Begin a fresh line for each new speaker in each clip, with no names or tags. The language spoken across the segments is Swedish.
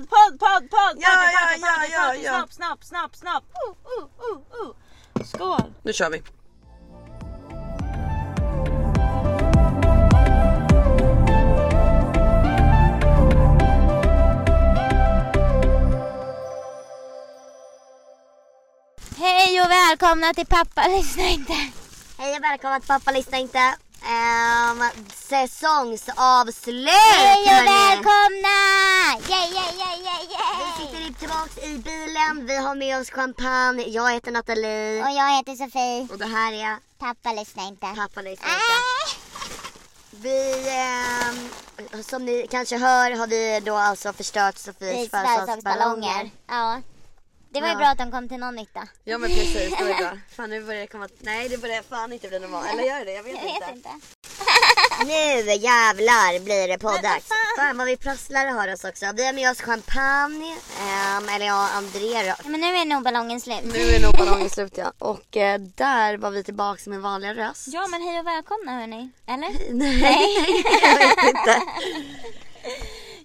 podd, podd!
Ja,
party,
ja,
party,
ja,
party,
ja,
party,
ja.
Snapp, snapp, snapp, snapp! Uh, uh, uh, uh. Skål!
Nu kör vi.
Hej och välkomna till Pappa lyssna inte.
Hej och välkomna till Pappa lyssnar inte. Ehm, säsongsavslut!
Hej och
hörni.
välkomna! Yay, yay, yay, yay,
Vi
yay.
sitter i- tillbaks i bilen, vi har med oss champagne. Jag heter Nathalie
Och jag heter Sofie.
och det här är
Pappa lyssna inte.
Pappa lyssnar inte.
Ah!
Vi, ehm, som ni kanske hör har vi då alltså förstört Sofies
Vi födelsedagsballonger.
födelsedagsballonger.
Ja. Det var ju
Ja.
bra att de kom till någon nytta.
Ja men precis, det var ju bra. Fan nu börjar det komma... Nej det börjar fan inte bli normalt. Eller gör det? Jag vet
Jag
inte.
vet inte.
Nu jävlar blir det
Men vad
poddags.
fan?
Fan vad vi prasslar och har oss också. Vi har med oss champagne, ehm, eller ja André då.
Ja, men nu är nog ballongen slut.
Nu är nog ballongen slut ja. Och eh, där var vi tillbaks med vanliga röst.
Ja men hej och välkomna hörni. Eller?
Nej, jag vet inte.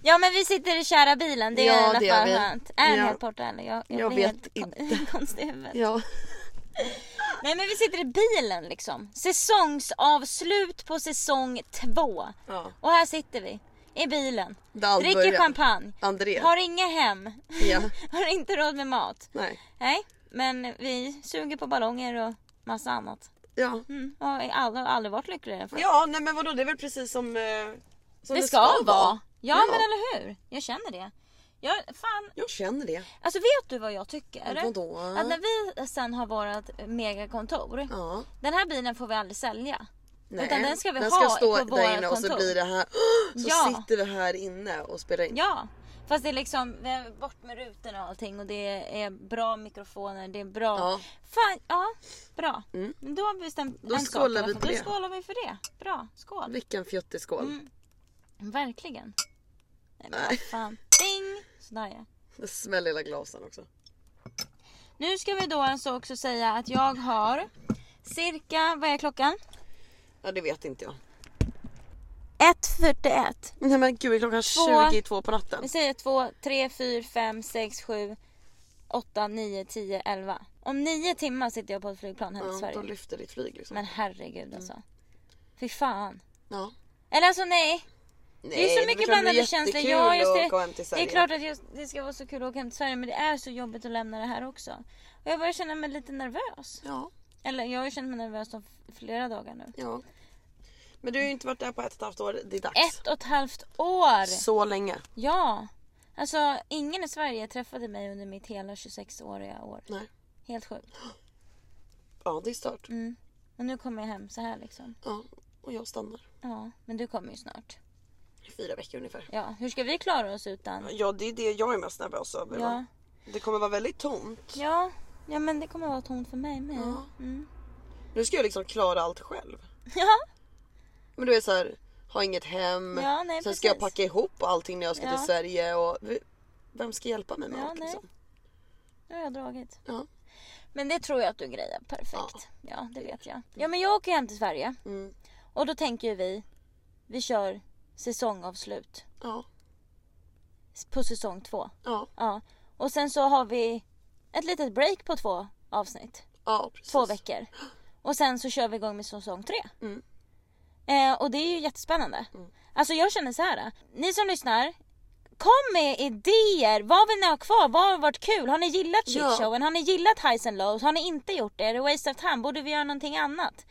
Ja men vi sitter i kära bilen, det är
Ja,
i alla
det gör
fall
vi.
skönt. Är den
Ja.
helt borta eller? Jag,
Jag
blir
vet
helt kon- Konstig i huvudet.
Ja.
Nej men vi sitter i bilen liksom. Säsongsavslut på säsong två.
Ja.
Och här sitter vi. I bilen.
Dahl
Dricker
börjar.
champagne.
André.
Har inga hem.
Ja.
Har inte råd med mat.
Nej.
Nej, men vi suger på ballonger och massa annat.
Ja.
Mm. Och har aldrig, aldrig varit lyckligare. För.
Ja nej men vadå det är väl precis som, eh, som
det ska vara. Ja, men eller hur. Jag känner det. Jag, fan,
Jag känner det.
alltså vet du vad jag tycker?
Vadå?
Att när vi sen har vårt megakontor.
Ja.
Den här bilen får vi aldrig sälja.
Nej.
Utan den ska vi
den
ha
ska stå
på
där
våra
inne och så
kontor.
blir det här. Så
Ja.
sitter vi här inne och spelar in.
Ja, fast det är liksom vi har bort med rutorna och allting och det är bra mikrofoner, det är bra.
Ja.
Fan, ja, bra.
Mm.
Men då har vi bestämt
Då
en sak
skålar
i alla
vi
fall.
på
Då
det.
skålar vi för det. Bra, skål.
Vilken fjuttig skål.
Mm. Verkligen. Nej, men
Nej.
vad fan. Ding! Sådär ja.
Det smäller hela glasen också.
Nu ska vi då alltså också säga att jag har cirka, vad är klockan?
Ja det vet inte jag.
1.41.
Nej men gud klockan
Två.
22 på natten.
Vi säger 2, 3, 4, 5, 6, 7, 8, 9, 10, 11. Om 9 timmar sitter jag på ett flygplan hem till
Ja,
Sverige.
då lyfter ditt flyg liksom.
Men herregud alltså. Fy fan.
Ja.
Eller alltså nej.
Nej,
Det är så
väl
mycket
klart det är
blandade känslor.
jättekul
Ja, just
att gå hem
det.
till
Det är
Sverige.
klart att jag, det ska vara så kul att åka hem till Sverige men det är så jobbigt att lämna det här också. Och jag börjar känna mig lite nervös.
Ja,
Eller jag har ju känt mig nervös de f- flera dagar nu.
ja. Men du har ju inte varit där på ett och ett halvt år. Det är dags.
Ett och ett halvt år!
Så länge.
Ja! Alltså ingen i Sverige träffade mig under mitt hela 26-åriga år.
Nej.
Helt sjukt.
Ja det är stört.
Mm. Och nu kommer jag hem så här liksom.
Ja. Och jag stannar
Ja, men du kommer ju snart.
i fyra veckor ungefär.
Ja, hur ska vi klara oss utan?
Ja det är det jag är mest nervös över.
Ja.
va? Det kommer vara väldigt tomt.
Ja, ja men det kommer vara tomt för mig med.
Ja.
Mm.
Nu ska jag liksom klara allt själv.
Ja.
Men du är så här, ha inget hem.
Ja, nej,
Sen ska jag
precis.
packa ihop allting när jag ska
Ja.
till Sverige. Och vem ska hjälpa mig med
Ja,
allt
nej.
liksom?
Nu har jag dragit.
Ja.
Men det tror jag att du grejer perfekt. Ja, det vet jag. Ja men jag åker hem till Sverige
Mm.
och då tänker ju vi, vi kör säsongavslut
Ja,
på säsong två.
ja,
Ja. Och sen så har vi ett litet break på två avsnitt.
ja precis.
Två veckor. Och sen så kör vi igång med säsong tre.
Mm.
Eh, och det är ju jättespännande. Alltså jag känner så här. eh, Ni som lyssnar, kom med idéer. Vad vill ni ha kvar? Vad har varit kul? Har ni gillat
Ja.
shitshowen? Har ni gillat highs and lows? Har ni inte gjort det? Är det waste of time? Borde vi göra någonting annat?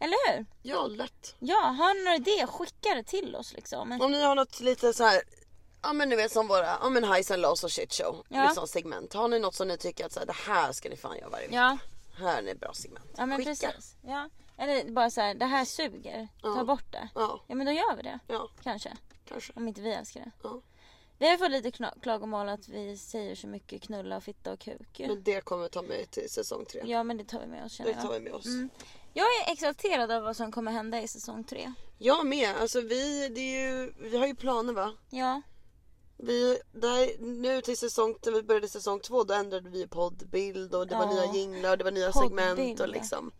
Eller hur?
Ja, lätt.
Ja, har ni några idéer, skicka det till oss liksom.
Om ni har något lite så här. Ja men du vet som våra ja, men highs and lows och shit show.
Ja.
Liksom segment. Har ni något som ni tycker att så här, det här ska ni fan göra varje vecka.
Ja,
Här är ett bra segment.
ja men
Skicka.
precis. Ja. Eller bara så här, det här suger. Ta
Ja.
bort det.
Ja,
Ja men då gör vi det.
ja
Kanske.
kanske.
Om inte vi älskar det.
Ja.
Vi har fått lite kno- klagomål att vi säger så mycket knulla och fitta och kuk. ju.
Men det kommer vi ta med till säsong tre.
Ja men det tar vi med oss känner
Det tar
jag.
vi med oss.
Mm. Jag är exalterad av vad som kommer hända i säsong tre.
Jag med. Alltså vi, det är ju, vi har ju planer va?
Ja,
Vi, där, nu till säsong, när vi började säsong två då ändrade vi poddbild och det var
Ja.
nya jinglar och det var nya
Poddbild,
segment och
ja.
liksom.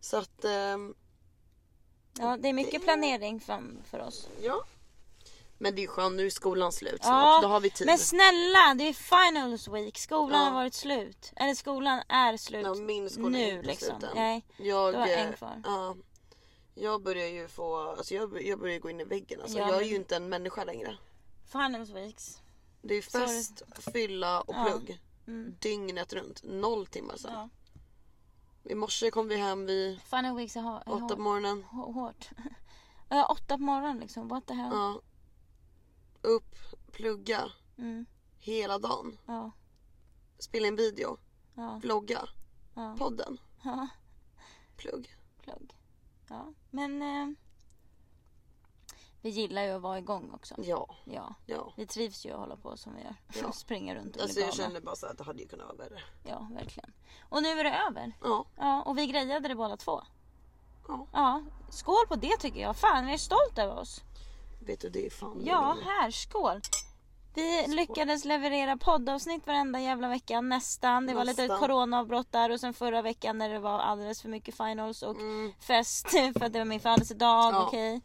Så att ehm,
ja det är mycket planering fram för oss.
ja. Men det är ju skönt, nu är skolan
Ja,
slut snart. Då har vi tid.
Men snälla, det är finals week. Skolan
Ja.
har varit slut. Eller skolan är slut.
Ja, min skola är
nu
inte
liksom.
slut än.
Nej.
jag,
du har en
eh,
kvar.
Ja, jag börjar ju få, alltså jag, jag börjar gå in i väggen alltså.
Ja,
jag är
men-
ju inte en människa längre.
Finals weeks.
Det är fest, fylla och
Ja.
plugg.
Mm.
Dygnet runt, noll timmar sedan.
Ja.
I morse kom vi hem vid
Final weeks är, hår, är
åtta på
hår,
morgonen.
hår, hårt. Ja, åtta på morgonen liksom. What the hell.
Ja. Upp, plugga
Mm.
hela dagen.
Ja.
Spela in video,
Ja.
vlogga,
Ja.
podden,
ja.
plugg.
Plugg. Ja. Men. Eh, vi gillar ju att vara igång också.
Ja,
Ja.
ja.
Vi trivs ju att hålla på som vi gör.
Mm. Ja.
Och springa runt och
Alltså
bli
jag
galna.
känner bara så här att det hade ju kunnat vara värre.
Ja, verkligen. Och nu är det över.
Ja,
Ja, och vi grejade det båda två.
Ja.
ja. Skål på det tycker jag. Fan, jag är stolt över oss.
vet du det är fan
Ja,
lugnt.
här, skål. Vi lyckades leverera poddavsnitt varenda jävla vecka nästan. Det var lite
Nästan.
coronaavbrott där och sen förra veckan när det var alldeles för mycket finals och
Mm,
fest för att det var min födelsedag.
Ja.
Okej.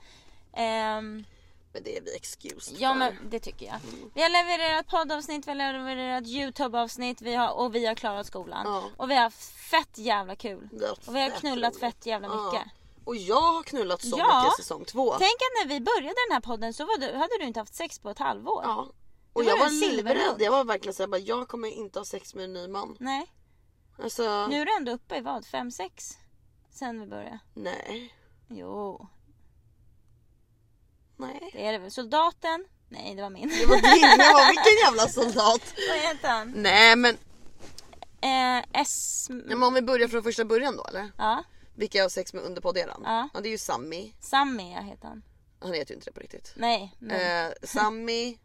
Ehm,
men det är vi excused
ja
för.
men det tycker jag.
Mm.
Vi har levererat poddavsnitt, vi har levererat Youtube-avsnitt vi har, och vi har klarat skolan.
Ja.
Och vi har haft fett jävla kul.
Det har varit
Och vi har
fett
knullat
roligt.
fett jävla
Ja.
mycket.
Och jag har knullat så
Ja.
mycket i säsong två.
Tänk att när vi började den här podden så var du, hade du inte haft sex på ett halvår.
Ja. Och
Det var
jag
ju
var
en silverlunk.
livrädd. Jag var verkligen såhär, bara, jag kommer inte ha sex med en ny man.
Nej,
Alltså,
nu är du ändå uppe i vad? fem sex Sen vi började.
nej.
Jo,
Nej.
det är det väl. Soldaten? Nej, det var min.
Det var din, jag bara, vilken jävla soldat.
Vad heter han?
Nej men,
Eh, S...
nej, men om vi börjar från första början då eller?
Ja,
Vilka jag har sex med under podderan?
Ja.
det är ju Sammy.
Sammy ja, heter han.
Han heter ju inte det på riktigt.
Nej, men...
Eh, Sammy.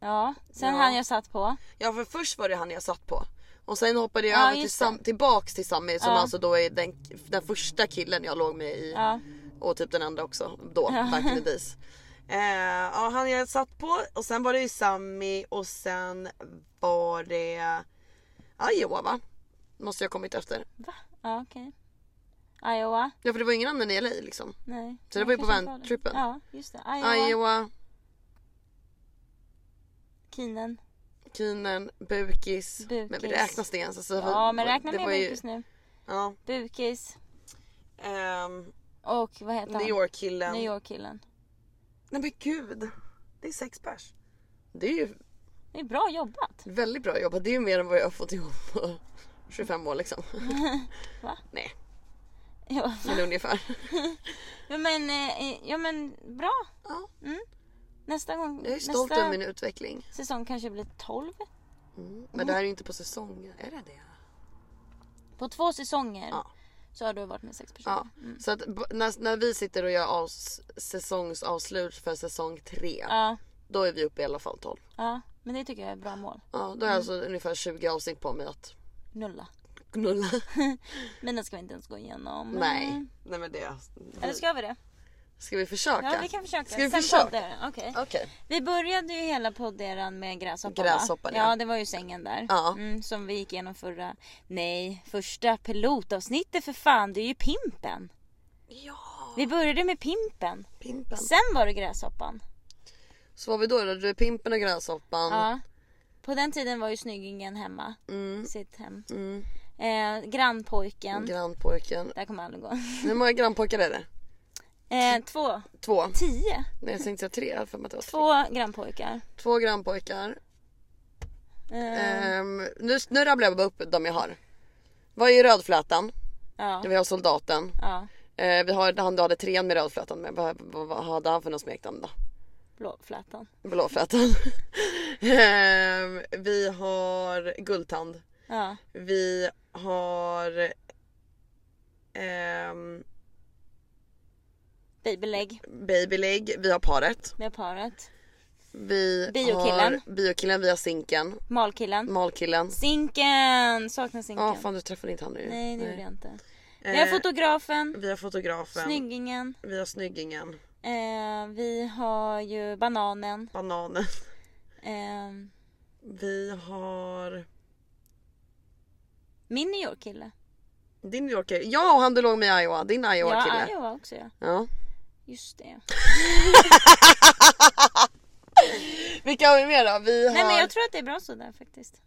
Ja, sen
ja.
han jag satt på.
Ja för först var det han jag satt på. Och sen hoppade jag
Ja,
över till
just det.
Sam, tillbaks till Sammy som
Ja.
alltså då är den, den första killen jag låg med i
Ja,
och typ den andra också då back in the days. Eh, ja han jag satt på och sen var det ju Sammy och sen var det ja, Iowa va? Måste jag ha kommit efter.
va? Ja, okej. Iowa?
Ja för det var ingen annan i LA liksom.
Nej.
Så det
Jag
var ju på
kanske inte har
vantrippen.
det. Ja, just det. Iowa,
Iowa,
Keenan.
Keenan, Bukis.
Bukis.
Men räknas det ens? Alltså,
Ja, men räkna
det
med
var ju-
Bukis nu.
Ja.
Bukis
Ehm,
och vad heter han?
New York-killen.
New York-killen.
Nej men gud. Det är sex pers. Det är ju
Det är bra jobbat.
väldigt bra jobbat. Det är ju mer än vad jag har fått ihop på 25 år liksom.
Va?
Nej,
Ja,
men ungefär.
Ja, men, eh, ja, men bra.
Ja,
Nästa gång.
jag är stolt
nästa
över min utveckling.
säsong kanske blir 12.
Mm. Men det här är ju inte på säsong. Är det det?
På två säsonger
Ja.
så har du varit med sex personer.
Ja. Så att b- när, när vi sitter och gör avs, säsongsavslut för säsong tre.
Ja.
Då är vi uppe i alla fall 12.
ja, men det tycker jag är ett bra mål.
Ja, då har jag alltså ungefär 20 avsnitt på mig att
Nulla.
knulla.
Men den ska vi inte ens gå igenom.
Nej. Nej men det.
Eller ska vi det?
Ska vi försöka?
Ja, vi kan försöka.
Ska vi
Sen
försöka?
poddar. Okej.
Okej.
Vi började ju hela podderan med gräshoppan.
Gräshoppan,
ja.
ja.
ja, det var ju sängen där.
Ja.
Mm, som vi gick igenom förra... Nej, första pilotavsnittet för fan. Det är ju Pimpen.
Ja,
Vi började med Pimpen.
Pimpen.
Sen var det Gräshoppan.
Så var vi då? då? Det är Pimpen och Gräshoppan.
Ja. På den tiden var ju snyggingen hemma.
Mm,
Sitt hem.
mm.
Eh, grannpojken.
Grannpojken.
Där kommer jag aldrig gå.
Hur många grannpojkar är det?
Eh, två.
Två?
Tio.
Nej jag tänkte säga tre. Jag har för mig att det var tre.
Två grannpojkar.
Två grannpojkar.
Eh,
Ehm, nu, nu rabblar jag bara upp de jag har. Vad är Rödflätan?
ja.
Vi har Soldaten.
ja.
Eh, vi har han du hade trean med Rödflätan med. Vad, vad, vad hade han för något smeknamn då?
Blåflätan.
Blåflätan. Ehm, vi har Guldtand.
Ja.
Vi har... ehm,
Babylägg
Babyleg, vi har paret.
med paret.
Vi
Biokillen.
har biokillen, vi har sinken.
Malkillen.
Malkillen.
Zinken! Saknar Zinken.
Ja fan du träffade inte han nu.
Nej det gjorde jag inte.
Eh,
Vi har fotografen,
vi har fotografen.
snyggingen,
Vi har snyggingen.
eh, vi har ju bananen.
Bananen.
Eh,
Vi har...
min New York-kille.
Din New Yorker. Ja och han du låg med i Iowa. Din Iowa
Ja,
kille.
Iowa också ja.
Ja.
Just det.
Vilka har vi mer då? Vi har...
Nej men jag tror att det är bra sådär faktiskt.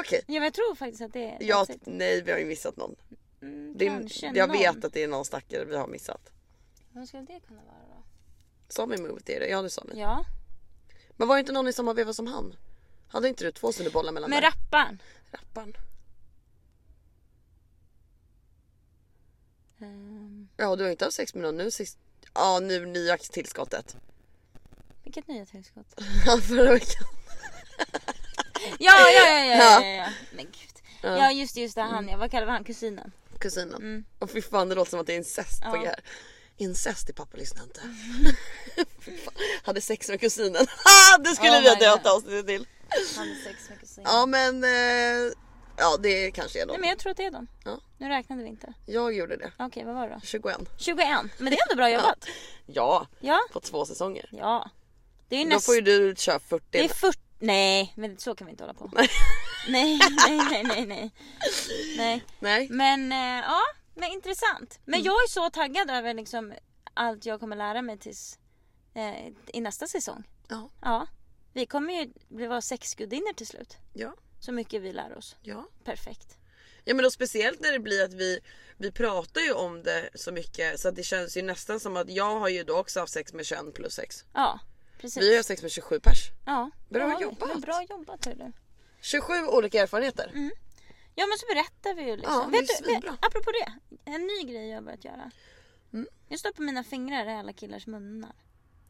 Okej.
Ja men jag tror faktiskt att det är
Ja,
that's it.
nej vi har ju missat någon.
Mm,
Det
kanske
är, jag
någon.
vet att det är någon stackare vi har missat.
Vem skulle det kunna vara då?
Sami Mumut är det, ja det sa ni.
Ja.
Men var det inte någon i samma veva som han? Hade inte du två bollar mellan
Men
dig?
rapparen.
rapparen?
Ehm,
Ja du har inte haft sex med någon nu sist? Ja nu nya tillskottet.
vilket nyhetstillskott?
Ja förra veckan.
Ja, ja, ja, ja, ja,
Ja.
ja, ja. Men gud.
Ja. Mm.
Ja, just det, just det, han ja. Vad kallar vi han? Kusinen?
Kusinen. Och fy fan det låter som att det är incest på
Mm. Ja. Mm.
g här. Incest i pappa lyssnar inte. Fy fan. Hade sex med kusinen. det skulle
Oh
vi ha
my
döpt
God.
avsnittet till.
Han är sex med kusinen.
Ja men eh, ja det kanske är
Nej
någon.
men jag tror att det är dem.
Ja.
Nu räknade vi inte.
Jag gjorde det.
Okej, vad var det då?
21.
21. Men det är ändå bra jobbat.
Ja,
Ja.
på två säsonger.
Ja. Det är ju
Då
nästan...
får ju du köra 40.
Det är 40... Nej, men så kan vi inte hålla på.
Nej.
Nej, nej, nej, nej, nej. nej.
Nej.
Men eh, ja, men intressant.
Mm.
Men jag är så taggad över liksom allt jag kommer lära mig tills eh, i nästa säsong.
Ja.
Ja. Vi kommer ju bli vara sexgudinnor till slut.
Ja.
Så mycket vi lär oss.
Ja.
Perfekt.
Ja men då speciellt när det blir att vi, vi pratar ju om det så mycket så att det känns ju nästan som att jag har ju då också haft sex med 21 plus 6.
Ja, precis.
Vi har sex med 27 pers.
Ja.
Bra
det har vi.
jobbat.
Men bra jobbat hörru.
27 olika erfarenheter.
Ja men så berättar vi ju liksom.
Ja, det är
Vet du,
svinbra.
vet, apropå det. En ny grej jag har börjat göra.
Mm.
Jag stoppar mina fingrar i alla killars munnar.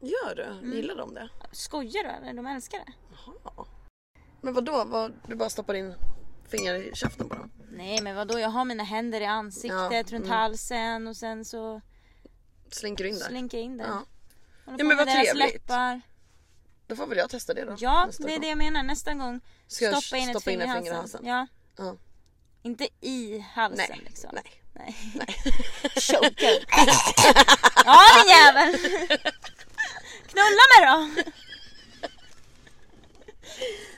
Gör du?
Mm.
Gillar de det?
Skojar du eller? De älskar det.
Jaha. Men vadå? Vad, du bara stoppar in fingrar i käften bara?
Nej men vadå jag har mina händer i ansiktet,
Ja, mm.
runt halsen och sen så
Slinker du in där?
slinker jag in den.
Ja.
Håller
Ja,
på
men
med
vad
deras
trevligt.
läppar.
Då får väl jag testa det då.
Ja
nästa
det är
gång.
det jag menar. Nästa gång
Ska jag
stoppa in ett
stoppa in
finger i
ett
halsen.
finger i halsen?
Ja.
Ja.
Inte i halsen
Nej.
liksom.
Nej.
Nej.
Nej.
Choker. ja din jävel. Knulla mig då.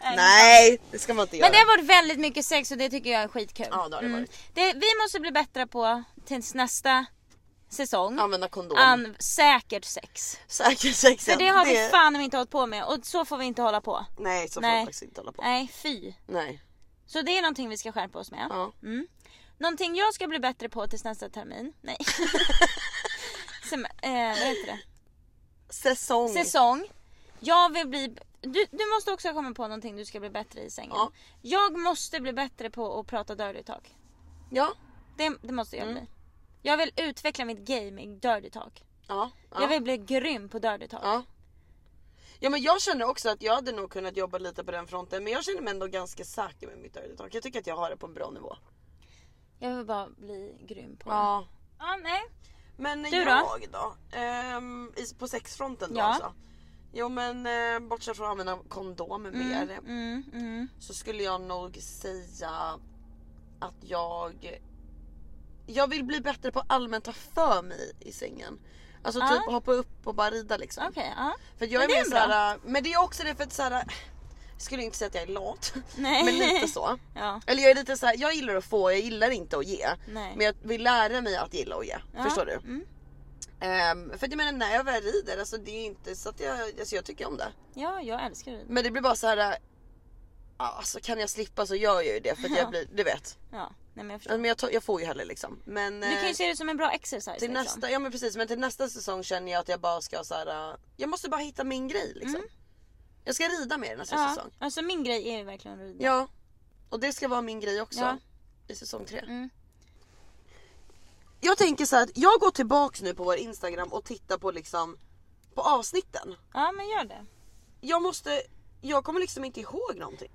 Nej, det ska man inte göra.
Men det har varit väldigt mycket sex och det tycker jag är skitkul.
Ja, det har det varit.
Mm. Det, vi måste bli bättre på tills nästa säsong.
Använda kondom.
An, säkert sex.
Säker sex.
För det har vi fan om inte hållit på med och så får vi inte hålla på.
Nej, så får
Nej.
man faktiskt inte hålla på.
Nej, fy.
Nej.
Så det är någonting vi ska skärpa oss med.
Ja.
Mm. Någonting jag ska bli bättre på tills nästa termin. Nej. Sem- eh, vad heter det?
Säsong.
Säsong. Jag vill bli... Du, du måste också komma på någonting du ska bli bättre i sängen.
Ja.
Jag måste bli bättre på att prata dirty talk.
Ja.
Det, det måste
Mm.
jag bli. Jag vill utveckla mitt game i dirty talk.
Ja. Ja.
Jag vill bli grym på dirty talk.
ja. Ja men jag känner också att jag hade nog kunnat jobba lite på den fronten men jag känner mig ändå ganska säker med mitt dirty talk. Jag tycker att jag har det på en bra nivå.
Jag vill bara bli grym på det.
Ja.
Ja, nej.
Men
Du då?
jag då? Ehm, i- på sexfronten då
Ja.
alltså? Jo men eh, bortsett från att använda kondom mer
Mm, mm.
så skulle jag nog säga att jag jag vill bli bättre på att allmänt ta för mig i sängen. Alltså
Ja.
typ hoppa upp och bara rida liksom.
Okej, ja.
För jag
Men
är,
det är
mer
bra.
såhär, men det är också det för att såhär, jag skulle inte säga att jag är lat,
Nej.
men lite så.
Ja.
Eller jag är lite såhär, jag gillar att få, jag gillar inte att ge.
Nej.
Men jag vill lära mig att gilla att ge.
Ja.
Förstår du?
Mm.
Ehm, för att jag menar när jag väl rider, alltså det är inte så att jag, alltså jag tycker om det.
Ja, jag älskar det.
Men det blir bara så här. äh, Alltså kan jag slippa så gör jag ju det för att jag blir, du vet.
Ja, nej men jag förstår.
Men jag, tar, jag får ju heller liksom. Men
Du kan
eh,
ju se det som en bra exercise
till
liksom.
nästa, ja men precis men till nästa säsong känner jag att jag bara ska så här. äh, Jag måste bara hitta min grej liksom. Jag ska rida mer nästa
Mm. ja.
säsong.
Alltså min grej är ju verkligen att rida.
Ja. Och det ska vara min grej också.
Ja.
I säsong tre.
Mm.
Jag tänker så här att jag går tillbaks nu på vår Instagram och tittar på liksom på avsnitten.
Ja, men gör det.
Jag måste, jag kommer liksom inte ihåg någonting.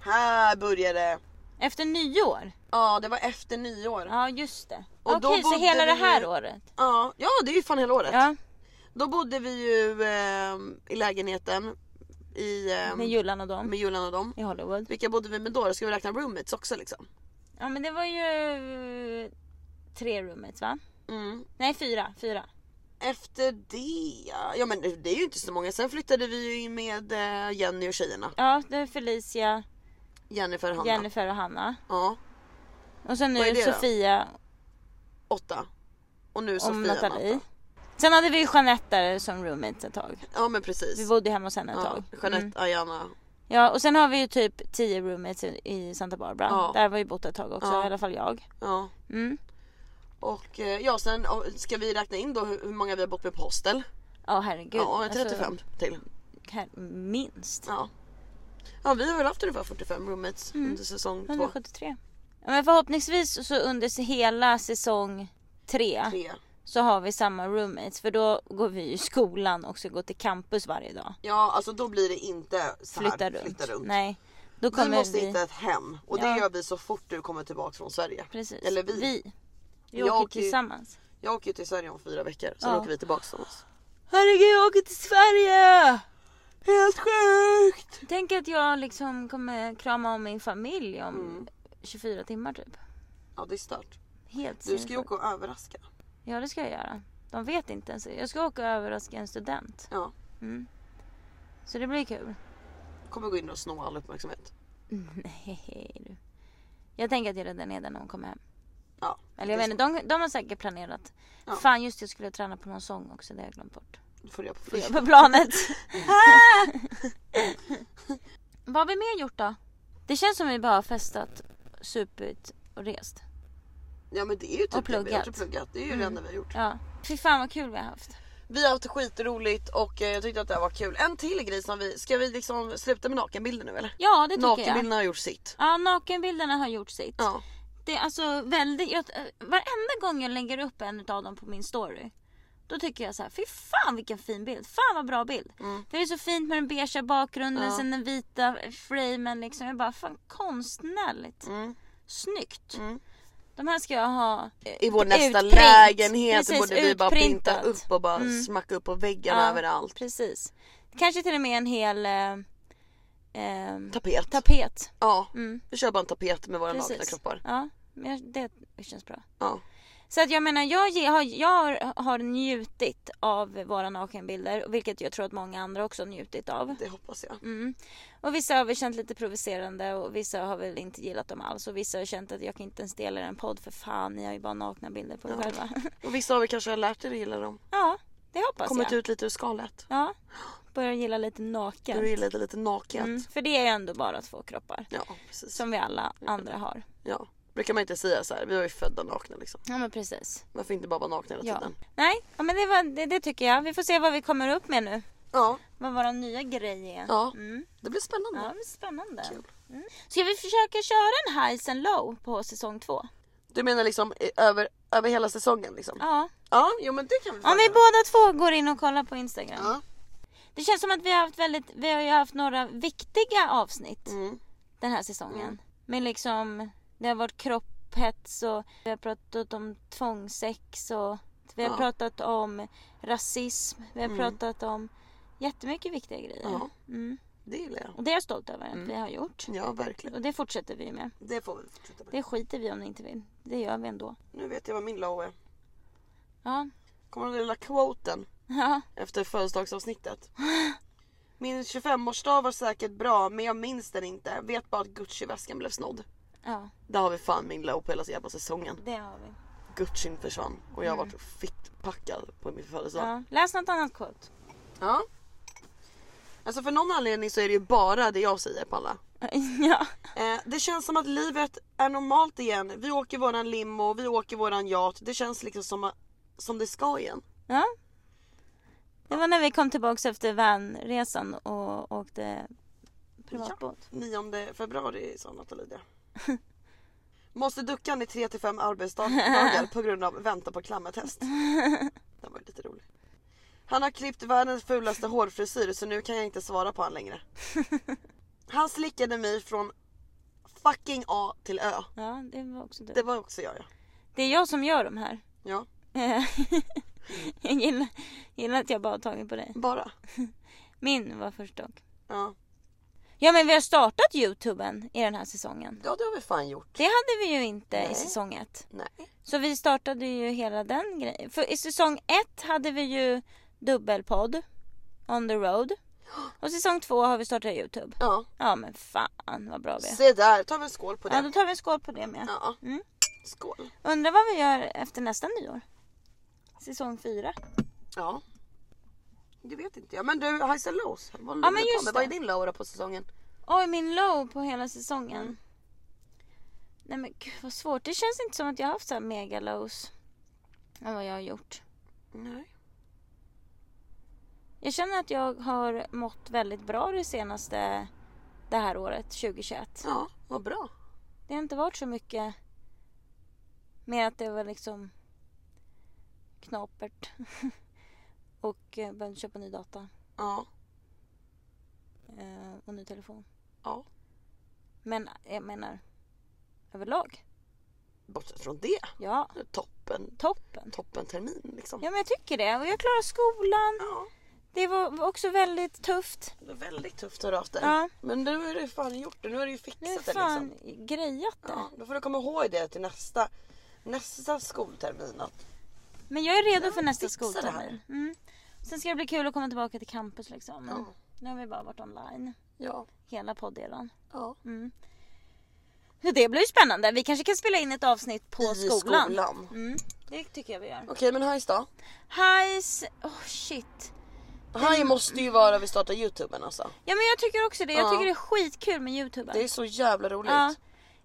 Här började,
Efter nyår?
ja det var efter nyår.
Ja, just det.
Och då
Okej, så
bodde
hela det
vi-
här året?
Ja, ja det är ju fan hela året.
Ja,
Då bodde vi ju ehm, i lägenheten i, ehm,
med Jullan och dem
med Julan och dem.
i Hollywood.
Vilka bodde vi med då? Då ska vi räkna roommates också liksom.
Ja, men det var ju eh, tre roommates va?
Mm.
Nej, fyra. Fyra.
Efter det, ja men det är ju inte så många. Sen flyttade vi ju in med eh, Jenny och tjejerna.
Ja, det är Felicia,
Jennifer och Hanna.
Jennifer och Hanna.
Ja,
Och sen
Vad är
nu
det då?
Sofia
åtta. Och nu
och
Sofia
Nathalie.
Natta.
Sen hade vi ju Jeanette där som roommate ett tag.
Ja men
Vi
precis.
bodde hemma hos henne ett
Ja,
tag.
Jeanette,
Mm.
Ayana.
Ja och sen har vi ju typ 10 roommates i- i Santa Barbara.
Ja.
Där har vi bott ett tag också,
Ja.
i alla fall jag.
Ja.
Mm.
Och eh, ja sen och ska vi räkna in då hur hur många vi har bott med på hostel.
Ja herregud.
Ja 35
Alltså,
till.
här, minst.
Ja. ja vi har väl haft ungefär 45 roommates
Mm.
under säsong 2.
173. Ja, men förhoppningsvis så under hela säsong tre så har vi samma roommates för då går vi ju i skolan och ska gå till campus varje dag.
Ja alltså då blir det inte så här,
Flytta runt.
Flytta runt.
Nej. Då
Vi
kommer
måste
vi...
hitta ett hem och
Ja.
det gör vi så fort du kommer tillbaka från Sverige.
Precis.
Eller vi.
Vi, vi
Jag
åker
åker ju-
tillsammans.
Jag åker ju till Sverige om fyra veckor, sen
Ja.
åker vi tillbaka till oss.
Herregud jag åker till Sverige!
Helt sjukt!
Tänk att jag liksom kommer krama om min familj om
Mm.
24 timmar typ.
Ja det är stört.
Helt
Du ska ju
sinnessjukt.
åka och överraska.
Ja det ska jag göra. De vet inte ens. Jag ska åka och överraska en student.
Ja.
Så det blir kul.
Kommer gå in och sno all uppmärksamhet.
Nej du. Jag tänker att jag redan är där när hon kommer hem.
Ja.
Eller jag
det
vet
är
inte, de, de har säkert planerat.
Ja.
Fan just det, jag skulle träna på någon sång också. Det har jag glömt bort.
så. Du får reda på
Får jag
fredag.
På planet. Vad har vi mer gjort då? Det känns som vi bara har festat, supit och rest.
Ja men det är ju typ
Och Mm.
det vi har gjort
pluggat.
och pluggat. Det är ju det enda vi har gjort.
Ja. Fy fan vad kul vi har haft.
Vi har haft skitroligt och eh, jag tyckte att det här var kul. En till grej som vi, ska vi liksom sluta med nakenbilder nu eller?
Ja det tycker jag.
Nakenbilderna har gjort sitt.
Ja nakenbilderna har gjort sitt.
Ja.
Det är alltså väldigt, jag, varenda gång jag lägger upp en av dem på min story. Då tycker jag så här, fy fan vilken fin bild. Fan vad bra bild. För det är så fint med den beigea bakgrunden,
Ja.
sen den vita framen liksom. Jag bara, fan konstnärligt.
Mm.
Snyggt.
Mm.
De här ska jag ha.
I vår nästa
Utprint.
lägenhet
Precis,
borde vi bara printa
utprintat.
upp och bara smacka upp på väggarna
Ja.
överallt.
Precis. Kanske till och med en hel eh, eh,
Tapet.
tapet.
ja,
Mm,
vi kör bara en tapet med våra nakna
precis.
kroppar.
Ja, men jag- det känns bra.
Ja.
Så att jag menar, jag, ge- har, jag har- har njutit av våra nakenbilder, vilket jag tror att många andra också har njutit av.
Det hoppas jag.
Mm. Och vissa har väl känt lite provocerande och vissa har väl inte gillat dem alls och vissa har känt att jag kan inte ens dela en podd för fan, ni har ju bara nakna bilder på er
Ja.
själva.
Och vissa av er kanske har lärt er att gilla dem.
ja, det hoppas
Kommit
jag.
ut lite ur skalet.
Ja, börjar gilla lite
Du
naken.
gillar lite, lite naket.
Mm, för det är ju ändå bara två kroppar
Ja, precis.
som vi alla andra har.
Ja. Brukar man inte säga så här, vi var ju födda nakna liksom.
Ja men precis.
Varför inte bara vara nakna hela
Ja.
tiden?
Nej, ja, men det, var, det, det tycker jag. Vi får se vad vi kommer upp med nu.
Ja,
Vad våra nya grej är.
ja.
Mm.
det blir spännande.
Ja, men spännande.
Kul.
Mm. Ska vi försöka köra en highs and low på säsong två?
Du menar liksom i- över, över hela säsongen liksom?
Ja.
Ja, jo men det kan vi
Om vi båda två går in och kollar på Instagram.
Ja.
Det känns som att vi har haft väldigt, vi har ju haft några viktiga avsnitt
Mm.
den här säsongen. Men liksom, det har varit kropphets och vi har pratat om tvångssex och vi har
Ja. Mm.
pratat om rasism. Vi har pratat om jättemycket viktiga grejer.
Ja. Mm.
Mm.
Det gillar jag.
Och det är jag stolt över att vi har gjort.
Ja, verkligen.
Och det fortsätter vi med.
Det får vi fortsätta med.
Det skiter vi om ni inte vill. Det gör vi ändå.
Nu vet jag vad min low är.
Ja.
Kommer du ihåg den lilla quoten
Ja.
efter födelsedagsavsnittet? Min 25-årsdag var säkert bra men jag minns den inte. Vet bara att Gucci-väskan blev snodd.
Ja,
Där har vi fan min low på hela jävla säsongen.
det har vi.
Gucci försvann och jag har varit fitt packad på min födelsedag.
Ja. Läs något annat quote.
Ja. Alltså för någon anledning så är det ju bara det jag säger på alla.
Ja.
Eh, det känns som att livet är normalt igen. Vi åker våran limo, vi åker våran yacht. Det känns liksom som, som det ska igen.
ja. Det var när vi kom tillbaka efter vanresan och åkte privatbåt.
9 februari sa Nathalie det. Måste ducka i 3 till 5 arbetsdagar på grund av vänta på klammetest. Den var ju lite rolig. Han har klippt världens fulaste hårfrisyr så nu kan jag inte svara på han längre. Han slickade mig från fucking A till Ö.
Ja, det var också du.
Det var också jag ja.
Det är jag som gör de här.
ja
Eh, jag gillar, gillar att jag bara har tagit på dig.
bara.
Min var först dock.
Ja.
Ja men vi har startat youtuben i den här säsongen.
ja det har vi fan gjort.
Det hade vi ju inte i
Nej.
säsong ett.
Nej.
Så vi startade ju hela den grejen. För i säsong ett hade vi ju dubbelpodd, on the road. Och säsong två har vi startat Youtube.
Ja.
Ja men fan vad bra vi är.
Se där, tar vi en skål på
Ja då
det.
tar vi en skål på det med.
Ja.
Mm.
Skål.
Undrar vad vi gör efter nästa nyår? Säsong fyra.
Ja. Det vet inte jag. Men du, highs and lows. Vad,
Ja,
håller
men
du på
just
med? Vad är
det.
din low då på säsongen?
Oj, min low på hela säsongen.
Mm.
Nej men gud vad svårt. Det känns inte som att jag har haft så här mega lows. Än vad jag har gjort.
Nej.
Jag känner att jag har mått väldigt bra det senaste, det här året, 2021.
Ja, vad bra.
Det har inte varit så mycket mer att det var liksom knapert. och eh, behövde köpa ny data
Ja.
eh, och ny telefon.
ja.
Men jag menar överlag.
Bortsett från det.
Ja,
det är Toppen.
toppen.
Toppen termin liksom.
Ja men jag tycker det. Och jag klarar skolan.
Ja.
Det var var också väldigt tufft.
Det var väldigt tufft att du haft det.
Ja.
Men nu har du fan gjort det. Nu har du ju fixat
Nu är
det
fan
liksom.
grejat det.
Ja, då får du komma ihåg det till nästa, nästa skoltermin. Att
Men jag är redo för nästa
fixa det
skoltermin.
här.
Mm. Sen ska det bli kul att komma tillbaka till campus liksom. Men
Ja.
Nu har vi bara varit online
Ja.
hela poddelen.
ja.
Mm. Så det blir ju spännande. Vi kanske kan spela in ett avsnitt på
I
skolan.
skolan.
Mm. Det tycker jag vi gör.
Okej men hajs då.
Highs, oh shit.
Haj måste ju vara vi startar youtuben alltså.
Ja men jag tycker också det. Jag
Ja.
tycker det är skitkul med Youtube.
Det är så jävla roligt.
Ja.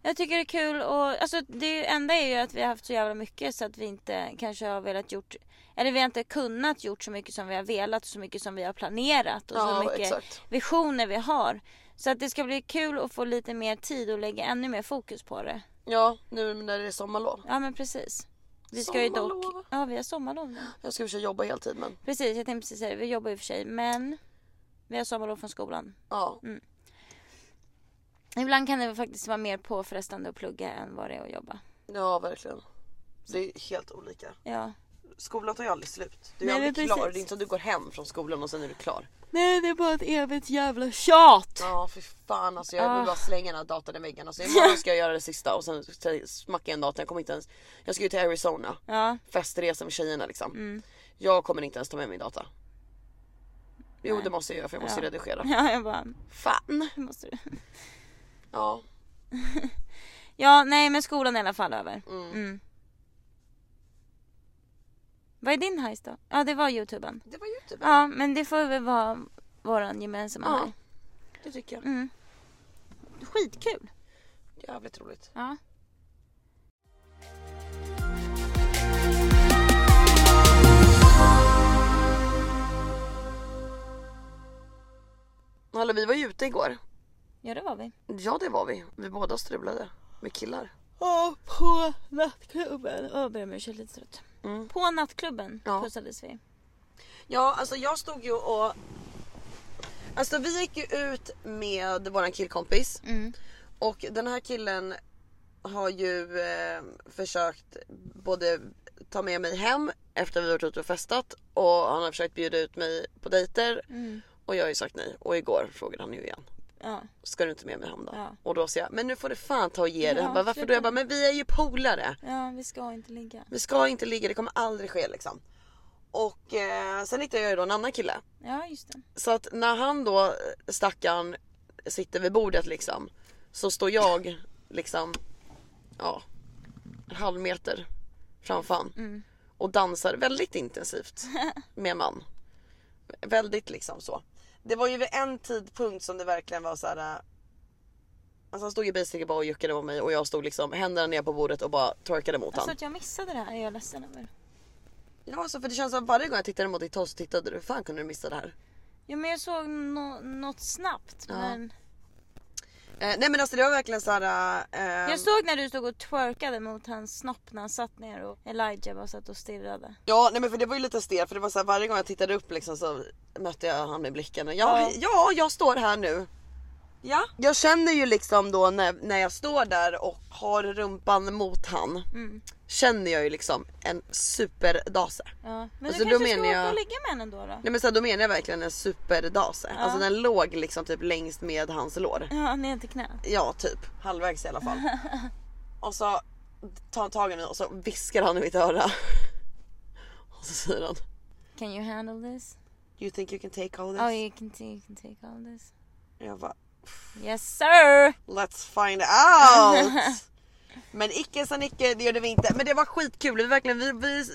Jag tycker det är kul och alltså det enda är ju att vi har haft så jävla mycket så att vi inte kanske har velat gjort eller vi har inte kunnat gjort så mycket som vi har velat så mycket som vi har planerat och
Ja,
så mycket
exakt.
visioner vi har. Så att det ska bli kul att få lite mer tid och lägga ännu mer fokus på det.
Ja, nu när det är sommarlov.
Ja men precis. Vi ska ju dock...
Sommarlov.
Ja vi har sommarlov nu.
Jag ska försöka jobba heltid men
Precis jag tänkte precis säga det. Vi jobbar ju för sig men vi har sommarlov från skolan.
ja.
Ibland kan det väl faktiskt vara mer påfrestande att plugga än vad det är att jobba.
Ja verkligen. Det är helt olika.
Ja.
Skolan tar ju aldrig slut. Du är
Nej, men
aldrig klar.
precis.
Det är inte så att du går hem från skolan och sen är du klar.
Nej det är bara ett evigt jävla tjat.
Ja för fan alltså jag
Ah.
vill bara slänga den här datorn i väggen. Alltså, imorgon ska jag göra det sista och sen smackar jag en dator. Jag kommer inte ens. Jag ska ju till Arizona.
Ja.
Festresa med tjejerna liksom.
Mm.
Jag kommer inte ens ta med min data. Jo det måste jag göra för jag måste ju redigera.
Ja, jag bara,
Fan!
det måste du.
Ja.
Ja, nej men skolan är i alla fall över. Mm. Vad är din hajs då? Ja, det var youtuben.
Det var youtube.
Ja, men det får väl vara våran gemensamma
Ja.
haj.
Det tycker jag.
Mm. Skitkul.
Jävligt roligt.
Ja.
Hallå vi var ju ute igår.
ja, det var vi.
Ja det var vi. Vi båda strulade med killar.
Ja, på nattklubben. Jag ber om ursäkt, lite trött.
Mm.
På nattklubben
Ja.
pussades vi.
Ja alltså jag stod ju och... Alltså vi gick ju ut med våran killkompis.
Mm.
Och den här killen har ju eh, försökt både ta med mig hem efter vi varit ute och festat och han har försökt bjuda ut mig på dejter och jag har ju sagt nej. Och igår frågade han ju igen.
Ja.
Ska du inte med mig hem då?
Ja.
Och då säger jag, men nu får du fan ta och ge dig.
Ja,
Han bara, varför då?
sluta.
Jag bara, men vi är ju polare.
ja, vi ska inte ligga.
Vi ska inte ligga, det kommer aldrig ske liksom. Och eh, sen hittade jag ju då en annan kille.
Ja, just det.
Så att när han då, stackaren, sitter vid bordet liksom. Så står jag liksom, ja, en halv meter framför han. Och dansar väldigt intensivt med man. Väldigt liksom så. Det var ju vid en tidpunkt som det verkligen var så här. äh, Alltså han stod ju basically bara och juckade mot mig och jag stod liksom händerna ner på bordet och bara torkade mot
Alltså
honom.
att jag missade det här är jag ledsen över.
Ja alltså för det känns som varje gång jag tittade mot ditt håll så tittade du. Hur fan kunde du missa det här?
Ja, men jag såg nå något snabbt.
Ja.
Men...
Eh, nej men alltså det var verkligen så här. äh,
Jag såg när du stod och twerkade mot hans snopp när han satt ner och Elijah bara satt och stirrade.
Ja nej men för det var ju lite stelt för det var så här, varje gång jag tittade upp liksom så mötte jag han med blicken. Ja,
Ja.
ja. ja jag står här nu.
Ja.
Jag känner ju liksom då när, när jag står där och har rumpan mot han.
Mm.
Känner jag ju liksom en superdase.
ja. Men
Alltså,
du
då
kanske ska
menar
åka
jag-
och ligga med henne då? då?
Nej men så här, då menar jag verkligen en superdase. Alltså den låg liksom typ längst med hans lår.
Ja, ner till knät.
Ja typ halvvägs i alla fall. och så tar han tag i mig och så viskar han i mitt öra. och så säger han.
Can you handle this?
You think you can take all this?
Oh you can, ta- you can take all this.
Jag bara,
Yes sir!
Let's find out! Men icke sa Nicke, det gjorde vi inte. Men det var skitkul. Det var verkligen, vi, vi,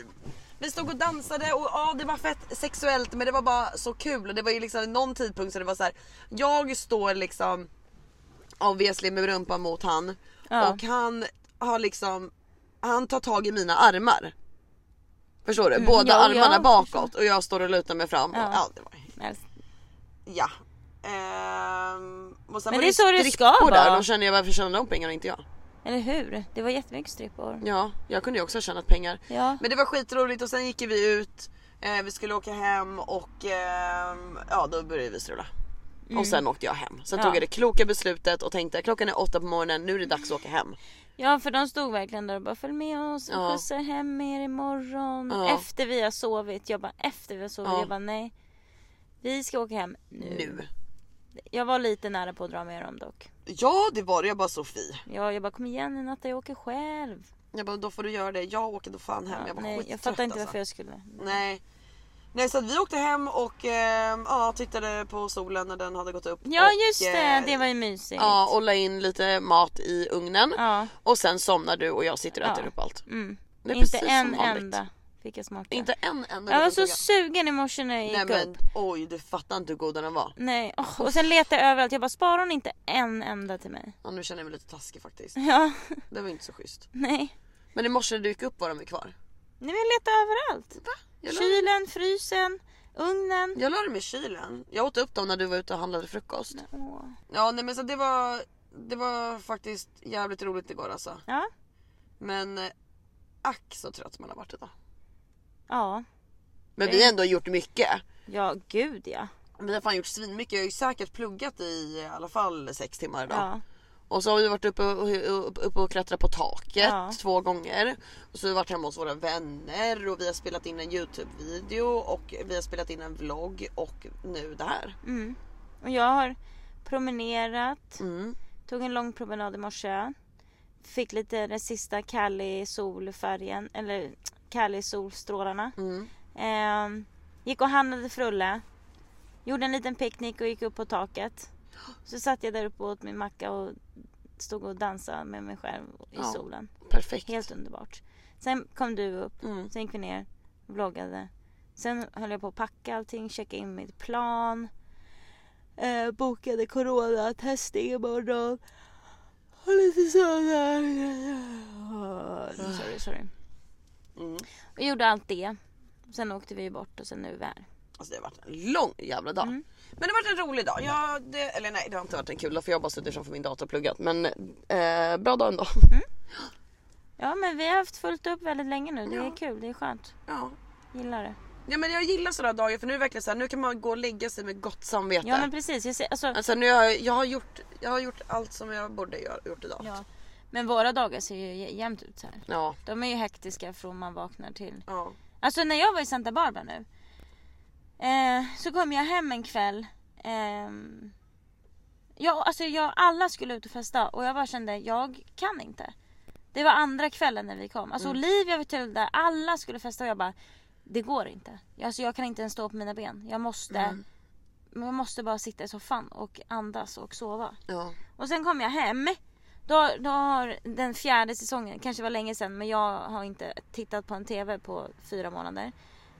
Vi stod och dansade och ja, det var fett sexuellt men det var bara så kul och det var ju liksom någon tidpunkt så det var så här. jag står liksom obviously med rumpan mot han
Ja.
och han har liksom, han tar tag i mina armar. Förstår du? Båda
Mm, ja,
armarna
ja,
bakåt och jag står och lutar mig fram. Ja.
Ja.
Och, ja, det var,
Helst.
ja. Ehm, och sen
Men
var
det är så det ska
strippor där.
vara.
De känner jag varför tjänar de pengar och inte jag?
Eller hur? Det var jättemycket strippor.
Ja, jag kunde ju också ha tjänat pengar.
Ja.
Men det var skitroligt och sen gick ju vi ut, eh, vi skulle åka hem och ehm, ja då började vi strula. Och sen åkte jag hem.
Mm.
Sen
Ja.
tog jag det kloka beslutet och tänkte klockan är åtta på morgonen, nu är det dags att åka hem.
Ja för de stod verkligen där och bara följ med oss, vi
Ja.
skjutsar hem er imorgon.
Ja.
Efter vi har sovit. Jag bara efter vi har sovit.
Ja.
Jag bara nej. Vi ska åka hem nu.
Nu.
Jag var lite nära på att dra med dem dock.
Ja det var det, jag bara Sofie.
Ja, jag bara kom igen i natt, jag åker själv.
Jag bara då får du göra det, jag åker då fan hem.
Ja,
jag var
nej,
skittrött
jag fattar inte
alltså.
varför jag skulle.
Nej. Nej så att vi åkte hem och ehm, ja, tittade på solen när den hade gått upp.
Ja
och,
just det,
eh,
det var ju mysigt.
Ja och la in lite mat i ugnen.
Ja.
Och sen somnar du och jag sitter och
Ja.
äter upp allt.
Mm.
Det är
Inte
precis
en
som vanligt.
enda fick jag smaka.
Inte en enda
jag var
liten
så
tugga.
sugen i morse när jag gick
Nej men
upp.
oj du fattar inte hur god den var.
Nej, åh, och sen letade jag överallt. Jag bara, sparar hon inte en enda till mig?
Ja, nu känner jag mig lite taskig faktiskt.
Ja,
Det var inte så schysst.
nej.
Men i morse när du gick upp var de ju kvar.
Nej men jag letade överallt.
Va? Jag la,
Kylen, frysen, ugnen.
jag la dem i kylen. Jag åt upp dem när du var ute och handlade frukost.
Åh.
Ja nej men så det var, det var faktiskt jävligt roligt igår alltså.
Ja,
Men eh, ack så trött man har varit idag.
ja,
Men vi har ändå gjort mycket.
ja gud ja.
Vi har fan gjort svinmycket. Jag har ju säkert pluggat i i alla fall sex timmar idag.
Ja,
Och så har vi varit uppe och, uppe upp och klättrat på taket
Ja.
två gånger. Och så har vi varit hemma hos våra vänner och vi har spelat in en Youtube-video och vi har spelat in en vlogg och nu det här.
mm. Och jag har promenerat.
Mm.
Tog en lång promenad i morse. Fick lite den sista Cali-solfärgen, eller Cali-solstrålarna.
Mm.
Ehm, gick och handlade frulle. Gjorde en liten picknick och gick upp på taket. Så satt jag där uppe och åt min macka och stod och dansade med mig själv i
Ja.
solen.
Perfekt.
Helt underbart. Sen kom du upp,
Mm.
sen gick vi ner, vloggade. Sen höll jag på att packa allting, checka in mitt plan. Eh, bokade coronatestning imorgon. Och lite sådana Sorry, sorry.
Ah. Mm.
Och gjorde allt det. Sen åkte vi bort och sen nu är vi här.
Alltså det har varit en lång jävla dag.
Mm.
Men det har varit en rolig dag. Jag, det, eller nej det har inte varit en kul dag för jag har bara suttit framför min dator och pluggat. Men eh, bra dag ändå.
Mm. Ja men vi har haft fullt upp väldigt länge nu. Det
Ja.
är kul, det är skönt.
Ja.
Gillar det.
ja men jag gillar sådana dagar för nu är det verkligen så här, nu kan man gå och lägga sig med gott samvete.
Ja men precis. Jag ser, alltså,
Alltså nu har jag, jag, har gjort, jag har gjort allt som jag borde göra, gjort idag.
ja. Men våra dagar ser ju jä- jämnt ut så här.
Ja.
De är ju hektiska från man vaknar till.
ja.
Alltså när jag var i Santa Barbara nu. Eh, så kom jag hem en kväll. ehm, ja, alltså jag, alla skulle ut och festa och jag bara kände, jag kan inte. Det var andra kvällen när vi kom. Alltså Olivia var till där, alla skulle festa och jag bara, det går inte. Alltså jag kan inte ens stå på mina ben. Jag måste, jag måste bara sitta i soffan och andas och sova.
ja.
Och sen kom jag hem. Då, då har den fjärde säsongen, kanske var länge sedan men jag har inte tittat på en TV på fyra månader.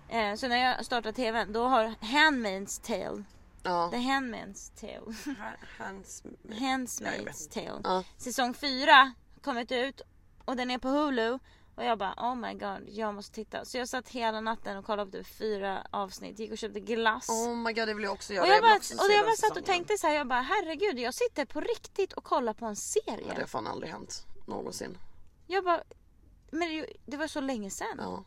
Eh, så när jag startar TVn då har Handmaid's Tale,
Ja.
The Handmaid's Tale,
Hans...
Handmaid's Tale.
Ja.
Säsong fyra kommit ut och den är på Hulu. Och jag bara oh my god, jag måste titta. Så jag satt hela natten och kollade på typ fyra avsnitt, gick och köpte glass.
Oh my god det vill jag också göra.
Och jag, bara,
vill också se
och jag
den
bara satt och
säsongen.
tänkte så här, jag bara herregud jag sitter på riktigt och kollar på en serie.
Ja, det har fan aldrig hänt. Någonsin.
Jag bara, men det, det var så länge sedan.
Ja.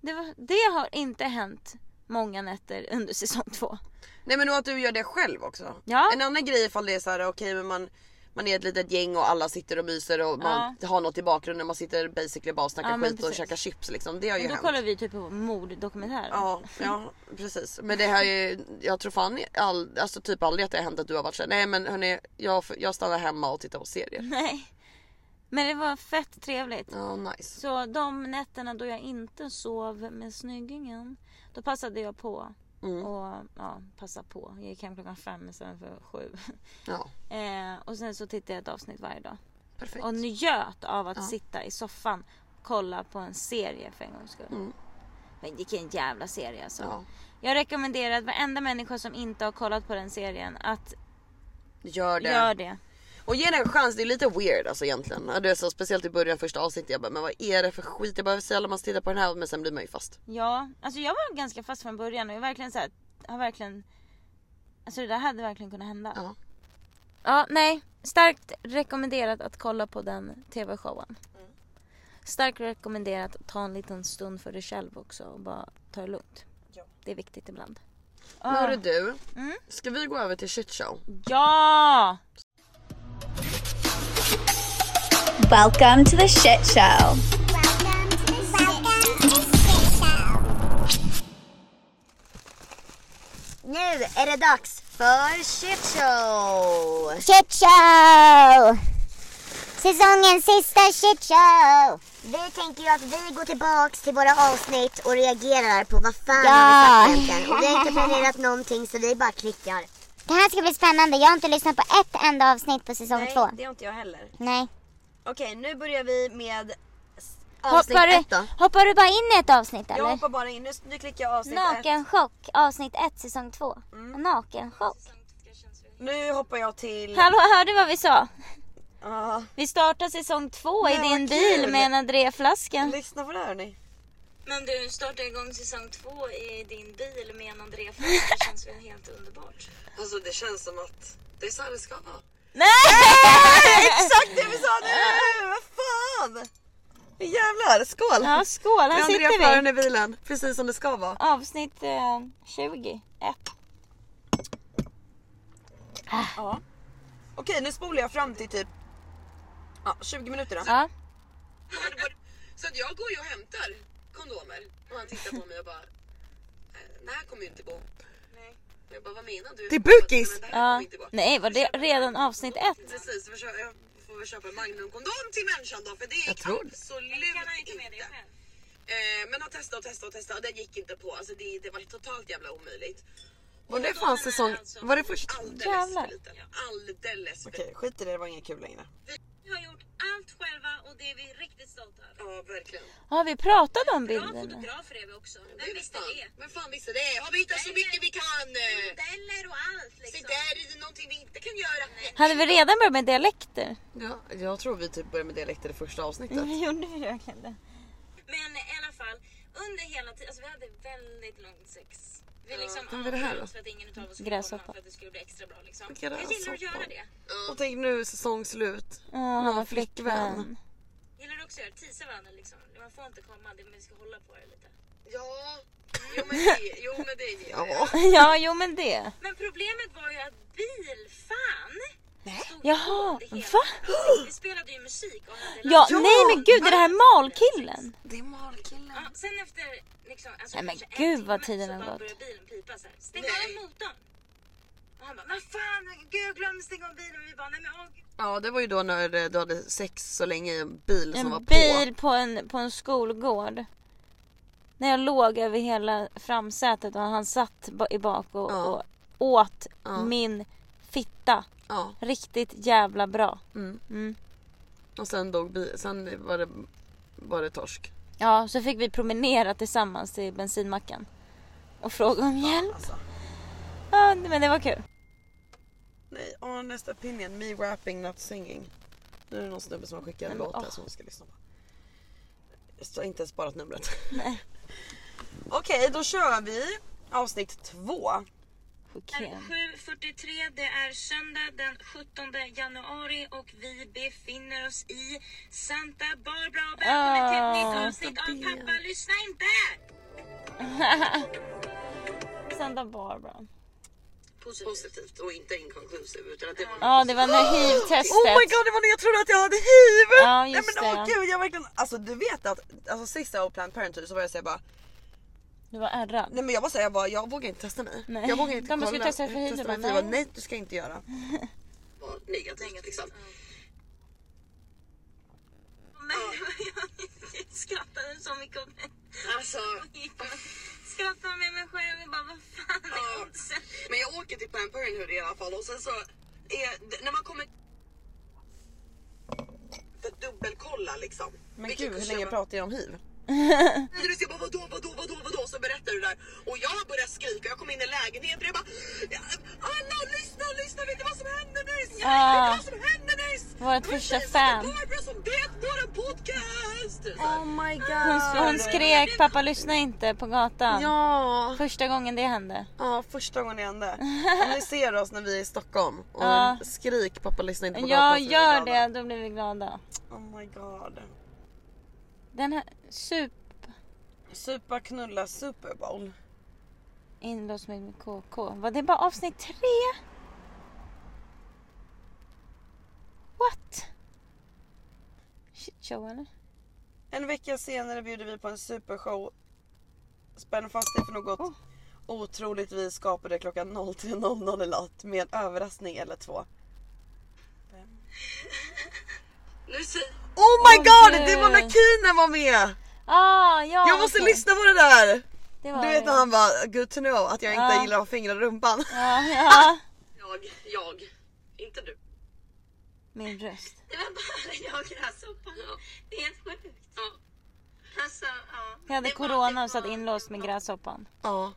Det, var, det har inte hänt många nätter under säsong två.
Nej men och att du gör det själv också.
Ja.
En annan grej ifall det är så här, okej men man, man är ett litet gäng och alla sitter och myser och man har något i bakgrunden. Man sitter basically bara och snackar
Ja, men
skit och
precis.
käkar chips liksom. Det har ju
Men då
hänt.
kollar vi typ på morddokumentärer.
Ja, ja precis. Men det här är jag tror fan all, alltså typ aldrig att det har hänt att du har varit såhär, nej men hörni jag, jag stannar hemma och tittar på serier.
Nej. Men det var fett trevligt.
Ja nice.
Så de nätterna då jag inte sov med snyggingen, då passade jag på.
Mm.
Och ja, passa på. Jag gick hem klockan fem istället för sju.
Ja,
Eh, och sen så tittade jag ett avsnitt varje dag.
perfekt.
Och njöt av att sitta i soffan, kolla på en serie för en gångs skull.
Mm.
Men vilken jävla serie alltså.
Ja.
Jag rekommenderar att varenda människa som inte har kollat på den serien att
Gör det.
gör det.
Och ge den en chans, det är lite weird alltså egentligen. Ja, Det är så, speciellt i början, första avsnittet. Jag bara, men vad är det för skit? Jag behöver sällan man tittar på den här men sen blir man ju fast.
Ja, alltså jag var ganska fast från början och jag verkligen så här, har verkligen Alltså det där hade verkligen kunnat hända.
Ja.
Ja, nej. Starkt rekommenderat att kolla på den tv-showen.
Mm.
Starkt rekommenderat att ta en liten stund för dig själv också och bara ta det lugnt. Det är viktigt ibland.
Nu
Ah.
Hörru du,
Mm.
ska vi gå över till shit show?
Ja!
Welcome to the shit show.
Nu är det dags för shit show!
Shit show! Säsongens sista shit show!
Vi tänker ju att vi går tillbaks till våra avsnitt och reagerar på vad fan
Ja.
har vi sagt egentligen. Och vi har inte planerat någonting så vi bara klickar.
Det här ska bli spännande. Jag har inte lyssnat på ett enda avsnitt på säsong två.
har inte jag heller.
Nej.
Okej, nu börjar vi med
Hoppar du, hoppar du bara in i ett avsnitt eller?
bara in, nu, nu klickar jag avsnitt Mm.
Nakenchock avsnitt ett säsong två. Nakenchock.
Nu hoppar jag till...
Mm. Hallå, hörde du vad vi sa?
Ja,
Vi startar säsong två i
Men
din
vad
bil
kul.
med en André-flaska.
lyssna på det här hörni.
Men du, startar igång säsong två i din bil med en André-flaska känns väl helt underbart?
Alltså det känns som att det är så här det ska vara.
Nej!
Exakt det vi sa nu! Vad fan! Jävlar, skål!
Ja, skål, här
Med Andrea
sitter
Flaren
vi.
i bilen, precis som det ska vara.
Avsnitt eh, 20. Ett.
Okej, nu spolar jag fram till typ ja, 20 minuter då.
Ja.
Så att jag går ju och hämtar kondomer och han tittar på mig och bara, "Eh, det här kommer ju inte gå. Och Jag bara, vad menar du? Det är bukis!
Ja. Nej, var det redan avsnitt ett?
Precis, så försöker- jag får väl köpa en magnumkondom till människan då för det gick absolut inte. Eh, men har testat och testat och testat och det gick inte på. Alltså det, det var totalt jävla omöjligt. Var det fan säsong... Var det först? alltså Alldeles
Jävlar.
för liten. Alldeles för
Okej, skit i det, det var inget kul längre.
Vi har gjort allt själva och det är vi riktigt stolta över.
Ja verkligen.
Har vi pratat om
Bra
bilderna?
fotograf är vi också.
Det
Vem
visste
visste det?
Vem fan visste det? Har vi hittat så mycket vi kan? eh?
Modeller och allt
Se
liksom.
där är det någonting vi inte kan göra.
Hade vi redan börjat med dialekter?
Ja, jag tror vi typ började med dialekter i första avsnittet.
Gjorde vi verkligen det?
Men i alla fall, under hela tiden, alltså vi hade väldigt långt sex. Vi liksom
Mm.
Men vad är det här då?
för att ingen utav oss skulle
Gräshoppa.
komma för att det skulle bli extra bra liksom.
Gräshoppa.
Jag gillar att göra det.
Och tänk nu säsong slut.
Åh, han var flickvän.
flickvän.
Jag gillar också att göra det. Teasa varandra liksom. Man får inte komma, det- men vi ska hålla på det lite.
Ja. Jo men det, jo, men det gillar jag.
Ja, jo men det.
Men problemet var ju att bilfan stod
Jaha,
på det hela.
va?
Vi spelade ju musik och hade Alltså,
Ja, nej men gud, är det här malkillen?
Det är malkillen.
Ja, sen efter liksom, alltså,
Nej, men
kanske en
gud, vad
timme
tiden
så
har
bara
gått.
börjar bilen pipa så här. Stäng
Nej.
av motorn. Och han bara, vad fan, gud jag glömde stänga av bilen. Och vi bara, nej men åh gud.
Ja det var ju då när eh, du hade sex så länge i en bil som var
En
på.
bil på en, på en skolgård. När jag låg över hela framsätet och han satt ba- i bak och,
Ja.
och åt
Ja.
min fitta.
Ja.
Riktigt jävla bra.
Mm.
Mm.
Och sen dog bi- sen var det, var det torsk.
Ja, så fick vi promenera tillsammans till bensinmacken. Och fråga om hjälp.
Alltså,
Ja, men det var kul.
Nej, honest opinion. Me rapping not singing. Nu är det någon snubbe som har skickat en
Nej, men,
låt här
åh.
som vi ska lyssna på. Jag har inte ens sparat numret.
Okej, då kör vi avsnitt två.
Chockerande.
7.43, det är söndag den 17 januari och vi befinner oss i Santa Barbara. Och välkommen till ett
Ah,
nytt avsnitt av Pappa lyssna inte!
Santa Barbara.
Positivt och inte inconclusive utan att det var...
Ja, det var när
Oh my
hiv-testet.
god, det var när jag trodde att jag hade hiv!
Ja,
Nej,
just
men,
det,
Åh,
ja.
gud, jag verkligen, alltså du vet att alltså, sista av Planned Parenthood så var jag såhär bara,
Du var ärrad.
nej men jag var såhär, jag bara, jag
Jag vågar inte testa mig.
Nej.
Jag vågar inte
De bara, ska
kolla.
du testa dig för hiv?
Testa
Du
mig
bara,
för hiv.
nej.
Nej du ska inte göra. Var Negativt liksom.
Men jag skrattade så mycket åt mig.
Alltså,
Skrattade med mig själv och bara, vad fan är
Ja.
oddsen?
men jag åker till Planned Parenthood i alla fall och sen så är, när man kommer för att dubbelkolla liksom.
Men
Vilken
gud hur
kurs
länge
gör man?
pratar jag om hiv? Jag bara vadå, vadå, vadå, vadå? Så berättar du det där. Och jag börjar skrika jag kom in i lägenheten och jag bara alla lyssna, lyssna, vet ni vad som hände nyss? Vet ni
Ah.
vad som hände nyss?
Vårt första fan.
Barbara som bet våran podcast. Så här.
Oh my
Hon,
god.
hon skrek pappa lyssna inte på gatan.
Ja,
Första gången det hände.
ja första gången det hände. Om ni ser oss när vi är i Stockholm och
Ja.
skrik pappa lyssna inte på gatan,
Jag
så är vi
gör
glada.
det, då blir vi glada.
Oh my god.
Den här sup
Supa knulla Super Bowl.
inlåst med min KK. Var det bara avsnitt tre? What? Shit show eller?
En vecka senare bjuder vi på en supershow. Spänn fast dig för något
Oh.
otroligt vi skapade klockan 03.00 i natt med en överraskning eller två. Oh my god! Det var när Keenan var med!
Ah, ja,
Jag måste
okej.
lyssna på det där!
Det var
Du vet
det.
när han bara good to know att jag inte
Ja.
gillar att ha fingrar i rumpan.
Ja, ja.
Jag, jag, inte du.
Min röst.
Det var bara jag i den här soppan. Det är helt sjukt. Ja. Alltså, ja.
Jag hade
Det var-
corona
det
och satt
var-
inlåst med gräshoppan.
Ja,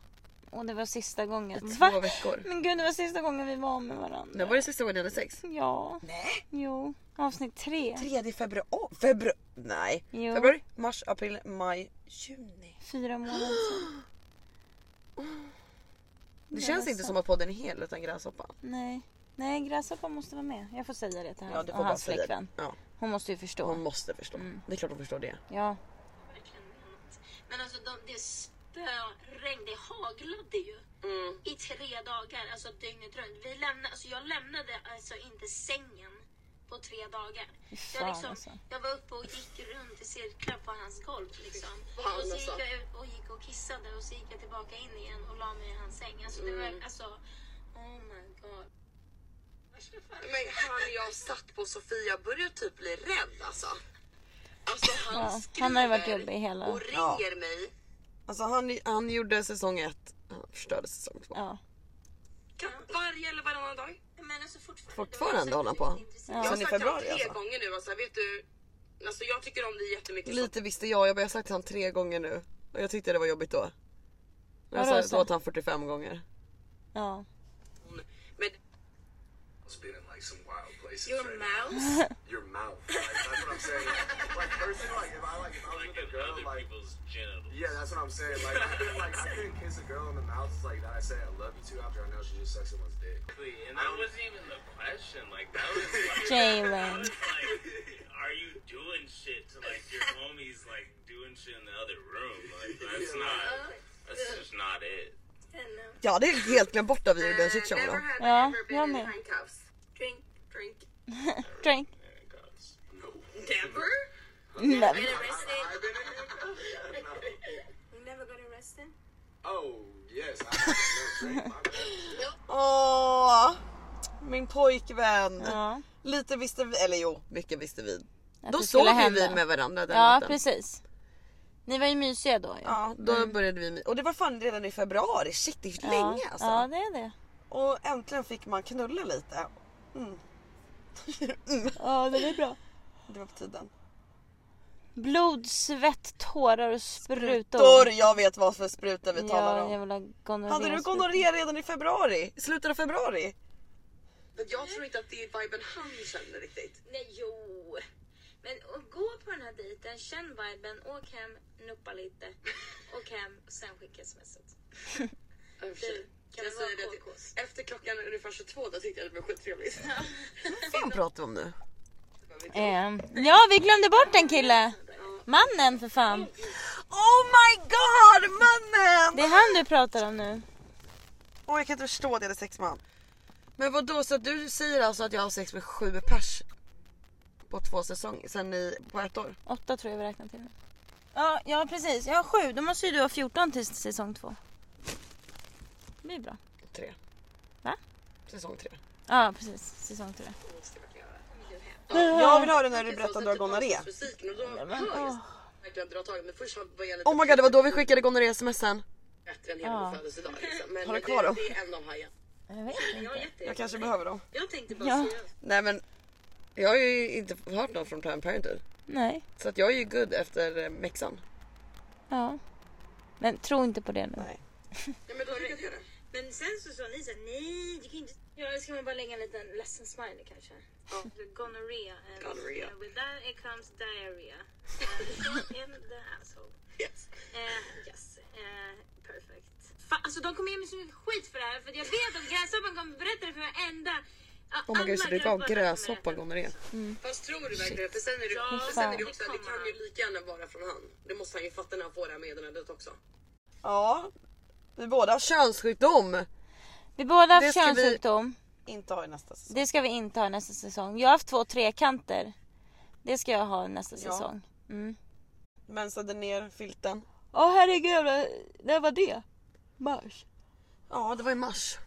Och det var sista gången.
två veckor.
Men gud det var sista gången vi var med varandra.
Det var det sista gången jag hade sex.
Ja. Nej. Jo. Avsnitt tre.
3 februari, februari, nej.
Jo.
Februari, mars, april, maj, juni.
Fyra månader sedan.
Det känns inte som att podden är hel utan gräshoppa.
Nej. Nej gräshoppan måste vara med. Jag får säga det till han
Ja, du får
och
bara
hans
säga
flickvän.
det. Ja,
Hon måste ju förstå.
hon måste förstå.
Mm.
Det är klart hon förstår det.
Ja.
verkligen menat. Men alltså de, det spöregn, det haglade ju
Mm.
i tre dagar, alltså dygnet runt. Vi lämnade, alltså jag lämnade alltså inte sängen på tre dagar.
fan,
Jag, liksom,
alltså.
jag var uppe och gick runt i cirklar på hans golv liksom.
fan,
Och så gick
alltså.
jag ut och gick och kissade och så gick jag tillbaka in igen och la mig i hans säng. Alltså det
Mm.
var, alltså, oh my god. Värsta fan.
Men han jag satt på Sofia jag började typ bli rädd alltså. Alltså han
Ja,
skriver
han har ju varit jobbig hela-
och ringer mig.
Alltså han, han gjorde säsong ett, han förstörde säsong två.
Ja.
Kan varje eller varannan dag.
Men alltså fortfarande.
Fortfarande håller han på.
Ja.
Jag har
Sen i
sagt till honom
februari
tre
alltså.
gånger nu alltså, vet du. Alltså jag tycker om dig jättemycket.
Lite visste jag, jag har sagt till honom tre gånger nu. Och jag tyckte det var jobbigt då. Men
Vadå,
jag har
så?
sagt åt honom 45 gånger.
Ja.
som- Men
It's been in like some wild places.
Your
right
mouse.
now. Your mouth. Like, that's what I'm saying. Like personally, like if I like if I was with a girl, like yeah, that's what I'm saying. Like I couldn't like I couldn't kiss a girl in the mouth like that. I say I love you too after I know she just sucks someone's dick.
And that wasn't even the question. Like that was like, that
Jalen.
was like, are you doing shit to like your homies? Like doing shit in the other room? Like that's not. That's just not it.
Ja det är helt glömt bort att vi gjorde en shitshow då.
Ja, jag med.
Drink, drink.
Drink.
Man, guys.
never?
Nej.
Get arrested.
I've been in it. No.
You never got arrested?
Oh yes. I, no, great. My bad.
Åh, min pojkvän.
Ja.
Lite visste vi, eller jo, mycket visste vi.
Att
Då
det
sov
skulle
ju vi
hända.
med varandra den
Ja
natten.
precis. Ni var ju mysiga då ju.
Ja, då började vi med, och det var fan redan i februari, shit det är
Ja.
länge alltså.
Ja det är det.
Och äntligen fick man knulla lite. Mm.
Ja det är bra.
Det var på tiden.
Blod, svett, tårar och sprutor.
Dor, jag vet vad för spruta vi talar
Ja,
om.
jag vill ha gonorré.
Hade du gonorré redan i februari? I slutet av februari?
Men jag tror inte att det är viben han känner riktigt.
Nej, jo. Men och gå på den här dejten, känn viben, åk hem, nuppa lite, åk hem och sen skicka smset.
Du,
kan
jag
det vara
säga det
kokos?
att efter klockan ungefär 22 då tyckte jag det var skittrevligt.
Vad fan pratar vi om nu?
Ehm, Ja vi glömde bort en kille. Mannen för fan.
Oh my god mannen!
Det är han du pratar om nu.
Åh jag kan inte förstå att jag hade sex med han. Men vad då så att du säger alltså att jag har sex med sju pers på två säsonger, sen i, på ett år?
Åtta tror jag vi räknar till nu. Ja, ja precis. Jag har sju. Då måste ju du ha 14 till säsong två. Det blir bra.
Tre.
Va?
Säsong tre.
Ja precis, säsong tre.
Jag vill höra när du
Så
berättar
sen
att du har
typ
gonorré.
avsnittsmusiken och då hör jag verkligen dra tag i mig. Först var jag lite
Oh my god det var då vi skickade gonorré-smsen.
bättre än hela
Ja.
min födelsedag. Liksom. Men
Har du
det-
kvar dem?
Det är en av hajarna.
Jag vet inte.
Jag, är jätte-
Jag kanske behöver dem.
jag tänkte bara
Ja.
seriöst.
Nej men jag har ju inte hört någon från Planned Parenthood.
Nej.
Så att jag är ju good efter eh, mexan.
Ja. Men tro inte på det nu.
Nej.
Ja, men då tycker jag att jag gör det.
Men sen så sa ni såhär, nej du kan inte... Ja, ska man bara lägga en liten ledsen smiley kanske? Gonorrhea. And
Gonorrhea.
uh, with that it comes diarrhea. Uh, in the asshole.
Yes.
Eh, yes, eh, perfect. Fan, alltså de kommer ge mig så mycket skit för det här för att jag vet att gräshoppan kommer berätta det för varenda... Ja,
Oh my
alla
god, så det gav
gräshoppan kommer
gräshoppa
berätta.
gonorré.
Fast tror du verkligen det? För sen är det,
Ja,
för sen är det
fan.
också att det kan ju lika gärna vara från han. Det måste han ju fatta när han får det här meddelandet också.
Ja, vi båda har könssjukdom.
Vi båda har
Det ska vi-
könssjukdom.
Inte har i nästa säsong.
Det ska vi inte ha nästa säsong. Jag har haft två trekanter. Det ska jag ha nästa säsong. Mm.
Mensade ner filten.
Åh herregud, när var det? Mars.
Ja, det var i mars.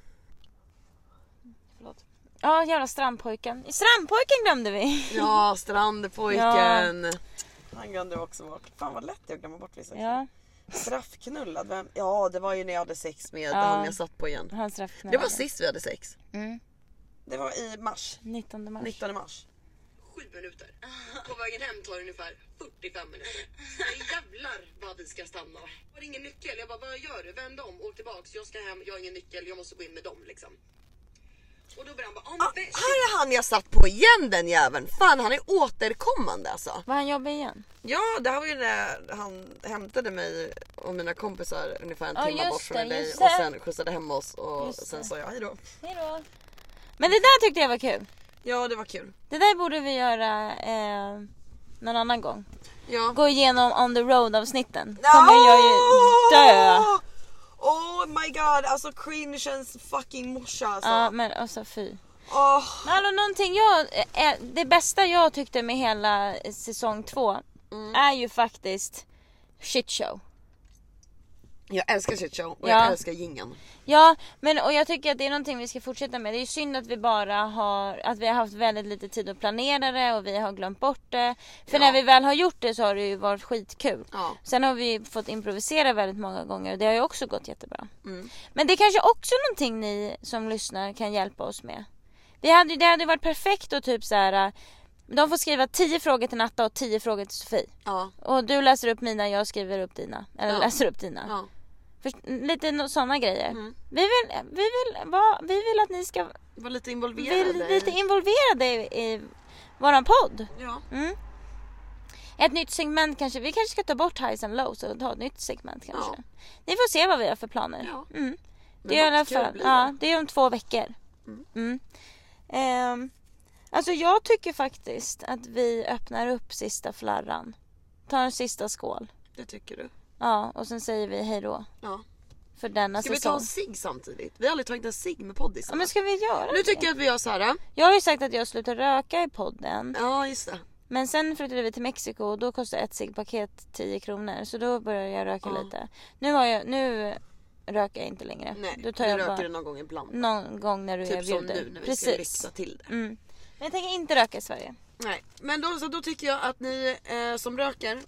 Förlåt. Ja, jävla strandpojken. Strandpojken glömde vi!
Ja, strandpojken. Han glömde också bort. Fan vad lätt jag glömmer bort vissa
Ja,
Straffknullad, vem? Ja det var ju när jag hade sex med
Ja.
han jag satt på igen.
hans straffknullade.
Det var sist vi hade sex.
Mm.
Det var i mars,
19 mars.
19 mars.
Sju minuter. På vägen hem tar det ungefär 45 minuter. Nej, jävlar vad vi ska stanna. Jag har ingen nyckel. Jag bara, vad gör du? Vänd om, åk tillbaks. Jag ska hem, jag har ingen nyckel. Jag måste gå in med dem liksom. Och då börjar han bara, ah,
Ah,
men,
här är han jag satt på igen den jäveln. Fan han är återkommande alltså.
Var han jobbar igen?
Ja det här var ju när han hämtade mig och mina kompisar ungefär en
Ja,
timme
just
bort från
det,
dig
just
och
det.
sen skjutsade hem oss och
Just
sen
det.
sa jag hejdå.
Hejdå! Men det där tyckte jag var kul.
Ja det var kul.
Det där borde vi göra eh, någon annan gång.
Ja.
Gå igenom on the road avsnitten. Kommer jag ju dö!
Oh my god alltså cringeens fucking morsa alltså.
Ja men alltså fy.
Åh.
Men Hallå, Alltså, någonting jag, eh, det bästa jag tyckte med hela eh, säsong två
Mm.
är ju faktiskt shit show.
Jag älskar shit show och
Ja.
jag älskar gingen.
Ja, men och jag tycker att det är någonting vi ska fortsätta med. Det är ju synd att vi bara har, att vi har haft väldigt lite tid att planera det och vi har glömt bort det. För när vi väl har gjort det så har det ju varit skitkul.
Ja.
Sen har vi fått improvisera väldigt många gånger och det har ju också gått jättebra.
Mm.
Men det är kanske också någonting ni som lyssnar kan hjälpa oss med. Det hade ju det hade ju varit perfekt att typ så här. äh, De får skriva 10 frågor till Natta och 10 frågor till Sofie.
Ja.
Och du läser upp mina, jag skriver upp dina. Eller
Ja.
läser upp dina.
Ja.
Först- lite sådana grejer.
Mm.
Vi, vill, vi, vill vara, vi vill att ni ska
Var lite
bli
involverade.
lite involverade i, i våran podd. Mm.
ja.
Ett nytt segment kanske. Vi kanske ska ta bort highs and lows och ta ett nytt segment kanske.
Ja.
Ni får se vad vi har för planer.
Ja.
Mm.
Men
Det är i alla
något kul
fall,
blir det.
ja, det är om två veckor. Mm. Ehm, alltså jag tycker faktiskt att vi öppnar upp sista flarran. Tar en sista skål.
Det tycker du.
Ja, och sen säger vi hej då.
Ja.
För denna
Ska vi ta
säsong.
en cigg samtidigt? Vi har aldrig tagit en cigg med poddisarna.
Alltså, Ja, men ska vi göra
Nu
det?
tycker jag att vi gör så här.
Jag har ju sagt att jag slutar röka i podden.
Ja just det.
Men sen flyttade vi till Mexiko och då kostade ett ciggpaket 10 kronor. Så då började jag röka
Ja.
lite. Nu, har jag, nu röker jag inte längre.
Nej,
då
du
tar jag
röker
bara
det någon gång ibland.
någon gång när du
typ som
erbjuder.
nu när vi ska
Precis.
lyxa till det.
Mm. Men jag tänker inte röka i Sverige.
Nej. Men då, så då tycker jag att ni eh, som röker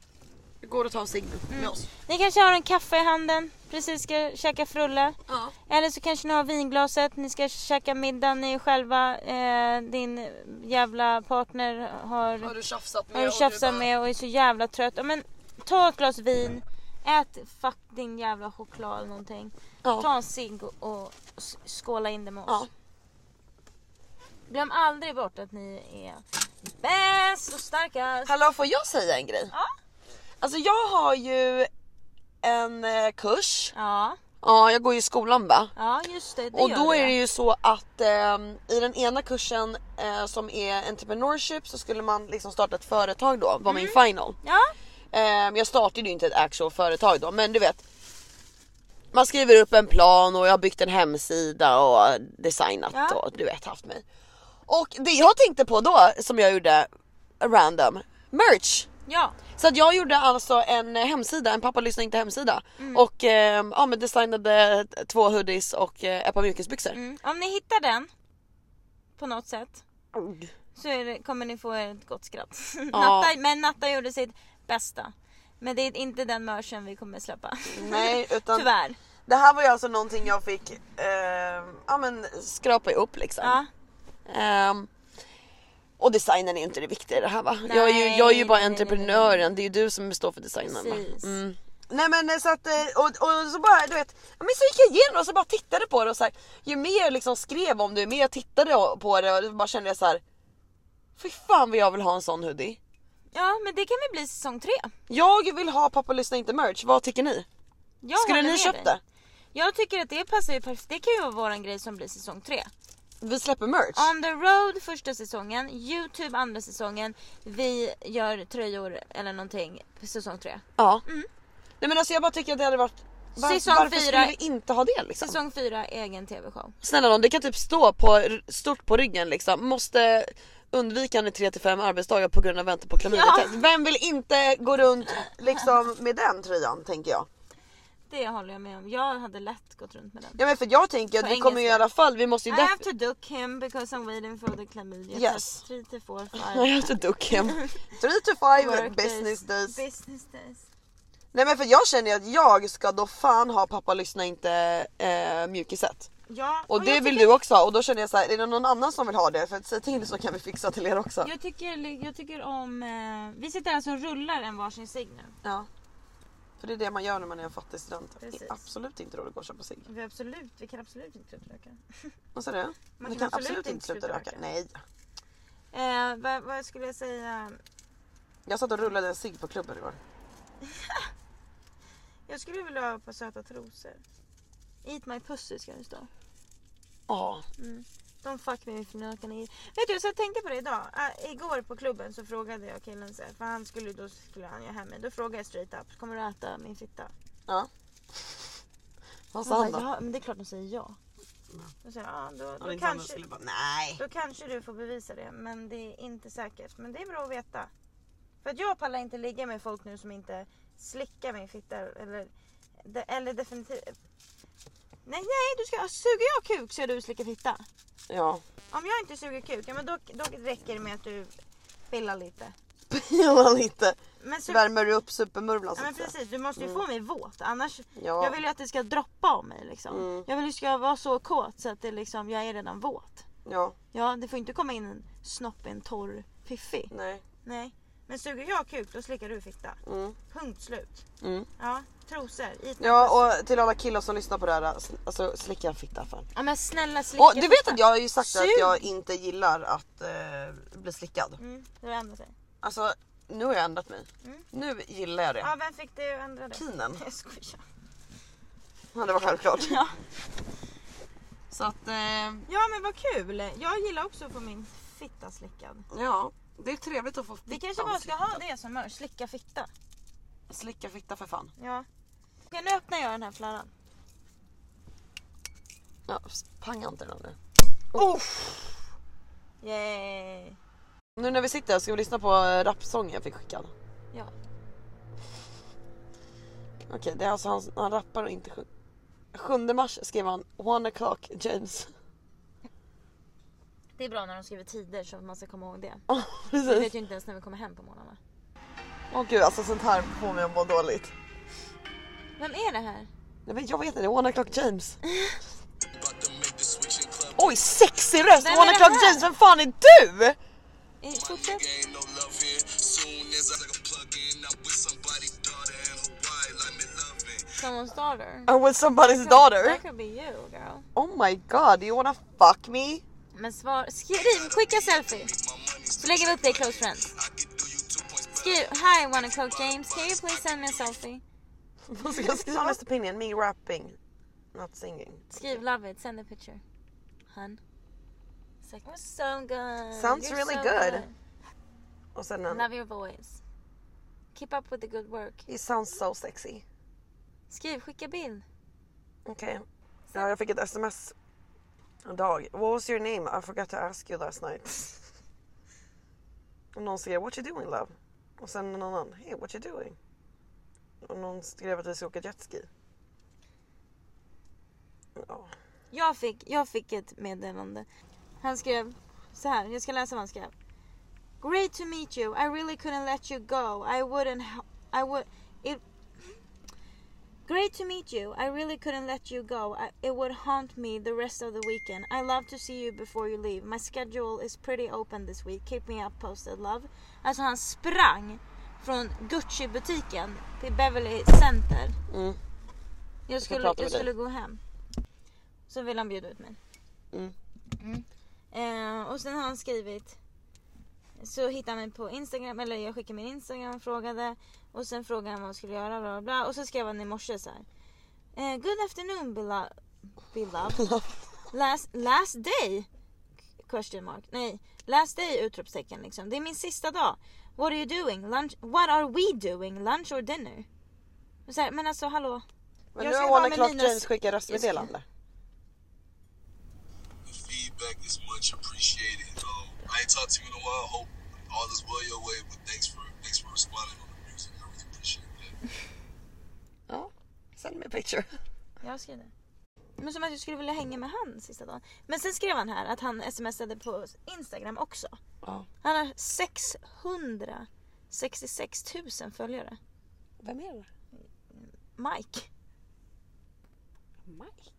går och tar en cigg
Mm.
med oss.
Ni kanske har en kaffe i handen. Precis ska käka frulle.
Ja.
Eller så kanske ni har vinglaset. Ni ska käka middag ni själva. Eh, din jävla partner har...
Har du tjafsat med
Har du
och
tjafsat
bara-
med och är så jävla trött. Ja, men ta ett glas vin, ät fuck din jävla choklad eller någonting.
Ja.
Ta en cigg och, och s- skåla in det med oss.
Ja.
Glöm aldrig bort att ni är bäst och starkast.
Hallå får jag säga en grej?
Ja.
Alltså jag har ju en eh, kurs.
Ja,
Ja jag går ju i skolan va?
ja just det. det
Och
gör
då
du.
är det ju så att ehm, i den ena kursen eh, som är entrepreneurship så skulle man liksom starta ett företag då, var
Mm.
min final.
Ja,
Ehm, jag startade ju inte ett actual företag då men du vet. Man skriver upp en plan och jag har byggt en hemsida och designat
Ja.
och du vet haft mig. Och det jag tänkte på då som jag gjorde random, merch.
ja.
Så att jag gjorde alltså en hemsida, en pappa lyssnar inte hemsida
Mm.
och ehm, ja, men designade två hoodies och eh, ett par mjukisbyxor.
Mm. Om ni hittar den på något sätt
Ugh.
så är det, kommer ni få ett gott skratt.
Ja.
Natta, men Natta gjorde sitt bästa. Men det är inte den merchen vi kommer släppa.
Nej utan
Tyvärr.
det här var ju alltså någonting jag fick eh, ja, men skrapa upp liksom.
Ja.
Ehm, och designen är ju inte det viktiga i det här va? jag, är ju, jag är ju bara
nej, nej, nej, nej.
entreprenören, det är ju du som står för designen. Va?
Precis.
Mm. Nej men eh, så att, eh, och, och så bara du vet, ja, men så gick jag igenom och så bara tittade på det och så här, ju mer jag liksom skrev om det, ju mer jag tittade på det och då bara kände jag så här. Fy fan vad jag vill ha en sån hoodie.
Ja men det kan väl bli säsong tre.
Jag vill ha pappa lyssna inte merch, vad tycker ni?
Jag
Skulle
håller
ni
med dig.
köpt det?
Jag tycker att det passar ju perfekt. Det kan ju vara våran grej som blir säsong tre.
Vi släpper merch.
On the road första säsongen, Youtube andra säsongen. Vi gör tröjor eller någonting på säsong tre.
Ja. Nej men alltså jag bara tycker att det hade varit var,
Säsong
varför
Mm. fyra-
skulle vi inte ha det liksom?
Säsong fyra egen tv-show.
Snälla nån, det kan typ stå på, stort på ryggen liksom. Måste undvikande 3-5 arbetsdagar på grund av väntan på klamydiatest. Vem vill inte gå runt liksom med den tröjan tänker jag.
Det håller jag med om. Jag hade lätt gått runt med den.
Ja men för jag tänker att
På
vi kommer ju i
engelska.
alla fall, vi måste ju
I have
definitivt...
to duck him because I'm waiting for the chlamydia
Yes.
test. Three to four,
I
five
have to duck him. 3 to 5
work
business days.
Business days.
Nej men för jag känner ju att jag ska då fan ha pappa lyssna inte eh, mjukisset.
Ja,
Och, det
jag
vill
tycker-
du också ha och då känner jag så här, är det någon annan som vill ha det? För att säg till så kan vi fixa till er också.
Jag tycker, jag tycker om... Eh, vi sitter alltså och rullar en varsin cigg nu.
Ja. För det är det man gör när man är en fattig student. Det
Precis.
är absolut inte roligt att gå och köpa cigg.
Vi, absolut, vi kan absolut inte utröka.
Vad sa du? Man,
kan
kan
absolut
absolut inte sluta röka. Nej.
Eh, vad, vad skulle jag säga?
Jag satt och rullade en cigg på klubben igår.
Jag skulle vilja ha på söta trosor. Eat my pussy ska det stå.
Ja.
Don't fuck me if you're not gonna eat. Vet du, så jag tänkte på det idag. Äh, igår på klubben så frågade jag killen så här, för han skulle, då skulle han ju hem mig. Då frågade jag straight up, kommer du äta min fitta?
Ja. Vad sa
Han
han
bara,
då?
ja, men det är klart de säger ja. Då säger jag, ja då,
Han
då,
inte han
kanske,
skulle bara, nej.
då kanske du får bevisa det. Men det är inte säkert. Men det är bra att veta. För att jag pallar inte ligga med folk nu som inte slickar min fitta eller, de, eller definitivt. Nej, nej, du ska, suger jag kuk så är du slickar fitta.
Ja.
Om jag inte suger kuk, ja, men då, då räcker det med att du pillar lite.
Pila lite.
Men, så, ja,
Värmer du upp supermurvlan så
Typ- men
att säga.
precis, du måste ju få mig våt annars.
Mm. Ja.
Jag vill ju att det ska droppa om mig liksom.
Mm.
Jag vill ju ska vara så kåt så att det liksom, jag är redan våt.
Ja.
Ja, det får inte komma in en snopp, en torr fiffi.
Nej.
Nej. Men suger jag kuk då slickar du fitta.
Mm.
Punkt slut.
Mm.
Ja, trosor. it-
Ja och till alla killar som lyssnar på det här. Alltså slicka en fitta fan.
ja men snälla slicka
Och du vet att jag har ju sagt
Sug.
att jag inte gillar att eh, bli slickad.
Mm, du har ändrat dig.
Alltså nu har jag ändrat mig.
Mm.
Nu gillar jag det.
Ja, vem fick dig att ändra dig?
Pinen.
Jag skojar.
Ja, det var självklart.
Ja.
Så att, eh,
Ja men vad kul! Jag gillar också att få min fitta slickad.
ja. Det är trevligt att få
Vi kanske bara ska ha det som mör, slicka fitta.
Slicka fitta för fan.
Ja. Okej nu öppnar jag den här flarran.
Ja, panga inte den nu.
Yay!
Nu när vi sitter här ska vi lyssna på eh, rapsången jag fick skickad.
Ja.
Okej, det är alltså han, han rappar och inte sjunger. 7 mars skrev han One o'clock James.
Det är bra när de skriver tider så att man ska komma ihåg det.
Ja,
Vi
Precis.
vet ju inte ens när vi kommer hem på morgnarna.
Åh gud alltså sånt här får mig att må dåligt.
Vem är det här?
Nej men jag vet inte, One o'clock James. Oj sexig röst!
Vem är
One
det
o'clock
här?
James, vem fan är du?
I- Fortsätt. Someone's daughter.
I'm with somebody's daughter.
That could be you girl.
Oh my god, do you wanna fuck me?
Men svar, skriv, skicka selfie. Så lägger vi upp det i close friends. Skriv, hi wanna coke James, can you please send me a selfie?
Vad ska jag skriva? Honest opinion, me rapping. Not singing.
Skriv love it, send a picture. Han. It's like, we're so good.
Sounds
You're
really
so
good. Och sen
good.
en,
Love your voice. Keep up with the good work.
you sound so sexy.
Skriv, skicka bild.
Okej. Ja, jag fick ett sms. En dag. What was your name? I forgot to ask you last night. Och någon skrev what you doing love? Och sen någon annan. Hey what you doing? Och någon skrev att vi ska åka jetski. Ja.
Jag fick, jag fick ett meddelande. Han skrev så här, jag ska läsa vad han skrev. Great to meet you. I really couldn't let you go. I wouldn't h- I would it Great to meet you. I really couldn't let you go. I, it would haunt me the rest of the weekend. I love to see you before you leave. My schedule is pretty open this week. Keep me up posted, love. Alltså han sprang från Gucci-butiken till Beverly Center.
Mm.
Jag skulle,
prata
jag
med dig.
skulle gå hem. Så vill han bjuda ut mig.
Mm.
Mm. Eh, och sen har han skrivit. Så hittar han mig på Instagram, eller jag skickade min Instagram och frågade. Och sen frågade han vad jag skulle göra bla bla, bla. Och så skrev han i morse så här. Eh, good afternoon belo- beloved. last, last day? Question mark. Nej, last day utropstecken liksom. Det är min sista dag. What are you doing? Lunch? What are we doing? Lunch or dinner? Och Så här, men alltså hallå.
Men
Jag
nu
ska
har
vara
One
med
O'Clock
Linus.
James skickat röstmeddelande.
The feedback is much appreciated. Um, I ain't talked to you in a while. Hope all is well your way, but thanks for thanks for responding on the music. I really appreciate that.
Ja, send me a picture.
Jag skrev det. Men som att jag skulle vilja hänga med han sista dagen. Men sen skrev han här att han smsade på Instagram också.
Ja.
Han har 666 000 följare.
Vem är det?
Mike
Mike?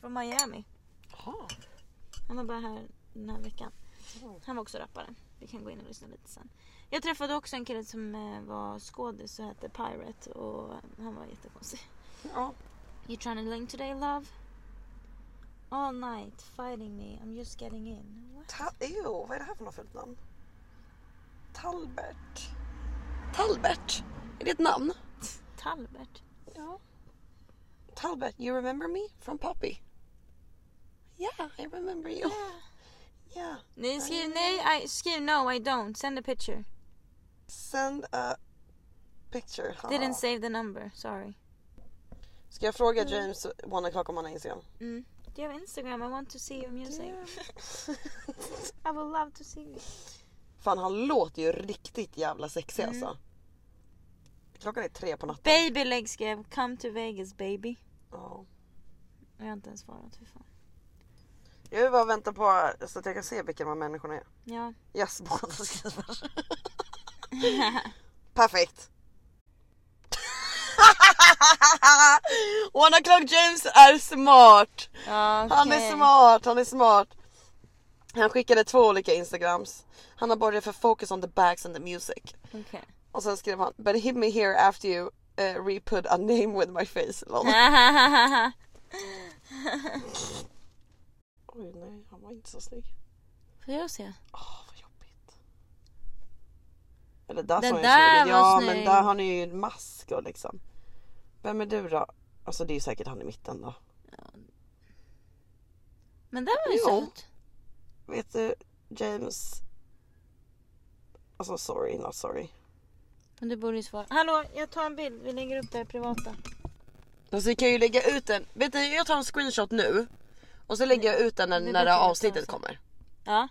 från Miami.
Jaha.
Han var bara här den här veckan. Han var också rappare. Vi kan gå in och lyssna lite sen. Jag träffade också en kille som eh, var skådis och hette Pirate och han var jättekonstig.
Ja.
You trying to link today love? All night fighting me, I'm just getting in. What?
Ta- Ew, vad är det här för något fult namn? Talbert. Talbert? Är det ett namn?
Talbert?
Ja. Talbert, you remember me from Poppy? Yeah, I remember you. Yeah.
Nej, skriv nej, I, skriv no I don't. Send a picture.
Send a picture. Hanna.
Didn't save the number, sorry.
Ska jag fråga James One O'Clock om han har Instagram?
Mm. Do you have Instagram? I want to see your music. I would love to see you.
Fan han låter ju riktigt jävla sexig alltså. Klockan är tre på natten.
Baby Leg skrev come to Vegas baby.
Ja.
Jag har inte ens svarat, hur fan.
Jag vill bara vänta på så att jag kan se vilka de här människorna är.
Ja.
Yes, båda skriver. Perfekt. One o'clock James är smart. Han är smart, han är smart. Han skickade två olika instagrams. Han har borrat för focus on the bags and the music.
Okej.
Och sen skrev han but hit me here after you uh, re-put a name with my face. Lol. Oj nej, han var inte så snygg.
Får jag se?
Åh vad jobbigt. Eller där
Den
såg jag
där
snygg ut.
var
Ja
snygg.
men där har ni ju en mask och liksom. Vem är du då? Alltså det är ju säkert han i mitten då.
Men den var ju
Jo.
söt.
Vet du James? Alltså sorry not sorry.
Men du borde ju svara. Hallå, jag tar en bild. Vi lägger upp det här privata.
Alltså vi kan ju lägga ut den. Vet du jag tar en screenshot nu. Och så lägger jag ut den när,
Det
när
vet
det
jag inte
avsnittet
alltså.
kommer.
Ja.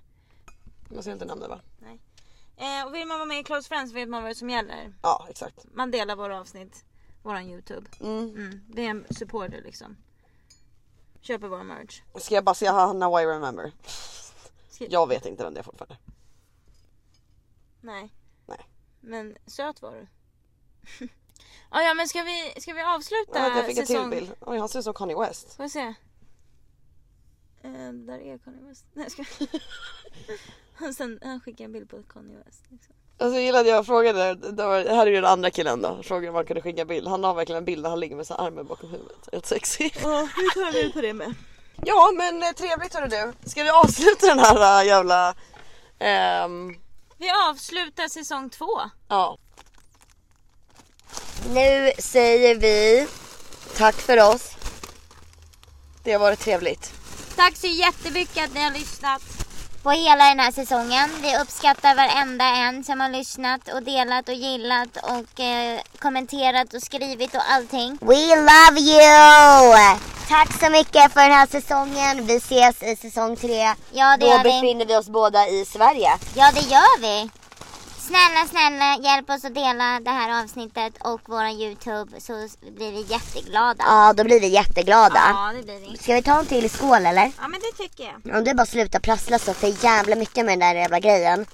Man ska inte nämna det va?
Eh, och vill man vara med i Close Friends vet man vad som gäller.
Ja exakt.
Man delar våra avsnitt. Våran YouTube.
Mm.
Mm. Det är en supporter liksom. Köper vår merch.
Ska jag bara säga Hanna Why Remember?
Ska-
Jag vet inte vem det är fortfarande.
Nej.
Nej.
Men söt var du. ah, ja men ska vi, ska vi avsluta
Jag, vet, jag fick en till
säsong...
bild. Oj han ser ut som Kanye West.
Får jag se? Eh, där är Kanye West. Nej jag skojar. Och Sen, han skickar en bild på Kanye West. Liksom.
Alltså jag gillade jag frågade, det var, här är ju den andra killen då, frågade om han kunde skicka bild. Han har verkligen en bild där han ligger med sina armar bakom huvudet. Helt sexy.
vi tar vi på det med.
Ja men eh, trevligt hörru du. Ska vi avsluta den här äh, jävla... ehm,
Vi avslutar säsong två.
ja.
Nu säger vi tack för oss.
Det har varit trevligt.
Tack så jättemycket att ni har lyssnat.
På hela den här säsongen. Vi uppskattar varenda en som har lyssnat och delat och gillat och eh, kommenterat och skrivit och allting.
We love you! Tack så mycket för den här säsongen. Vi ses i säsong tre.
Ja det
Då
gör vi.
befinner vi oss båda i Sverige.
Ja det gör vi. Snälla snälla hjälp oss att dela det här avsnittet och våran YouTube så blir vi jätteglada.
Ja, då blir vi jätteglada.
Ja det blir vi.
Ska vi ta en till skål eller?
Ja men det tycker jag.
Om du bara slutar prassla så för jävla mycket med den där jävla grejen.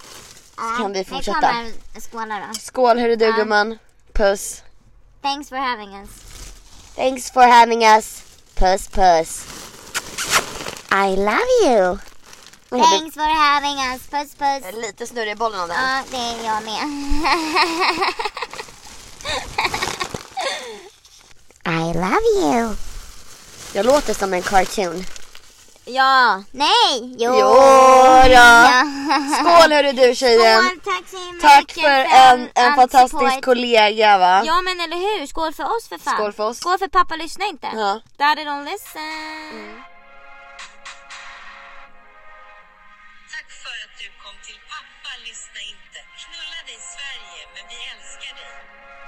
Ja,
kan vi fortsätta?
Vi kommer skåla då.
Skål hörru du gumman. Puss.
Thanks for having us.
Thanks for having us. Puss puss. I love you.
Thanks for having us. Puss puss.
Jag är lite snurrig i bollen av den.
Ja, det är jag med. I love you.
Jag låter som en cartoon.
Ja. Nej. Jo.
Jo då.
Ja.
Skål hörru du tjejen.
Skål, tack så himla
Tack
mycket
för en, en
all
fantastisk
support.
kollega va.
Ja men eller hur, skål för oss för fan.
Skål för oss.
Skål för pappa lyssna inte.
Ja. Mm.
Daddy don't listen.
Tack för att du kom till pappa lyssna inte. Knulla dig Sverige, men vi älskar dig.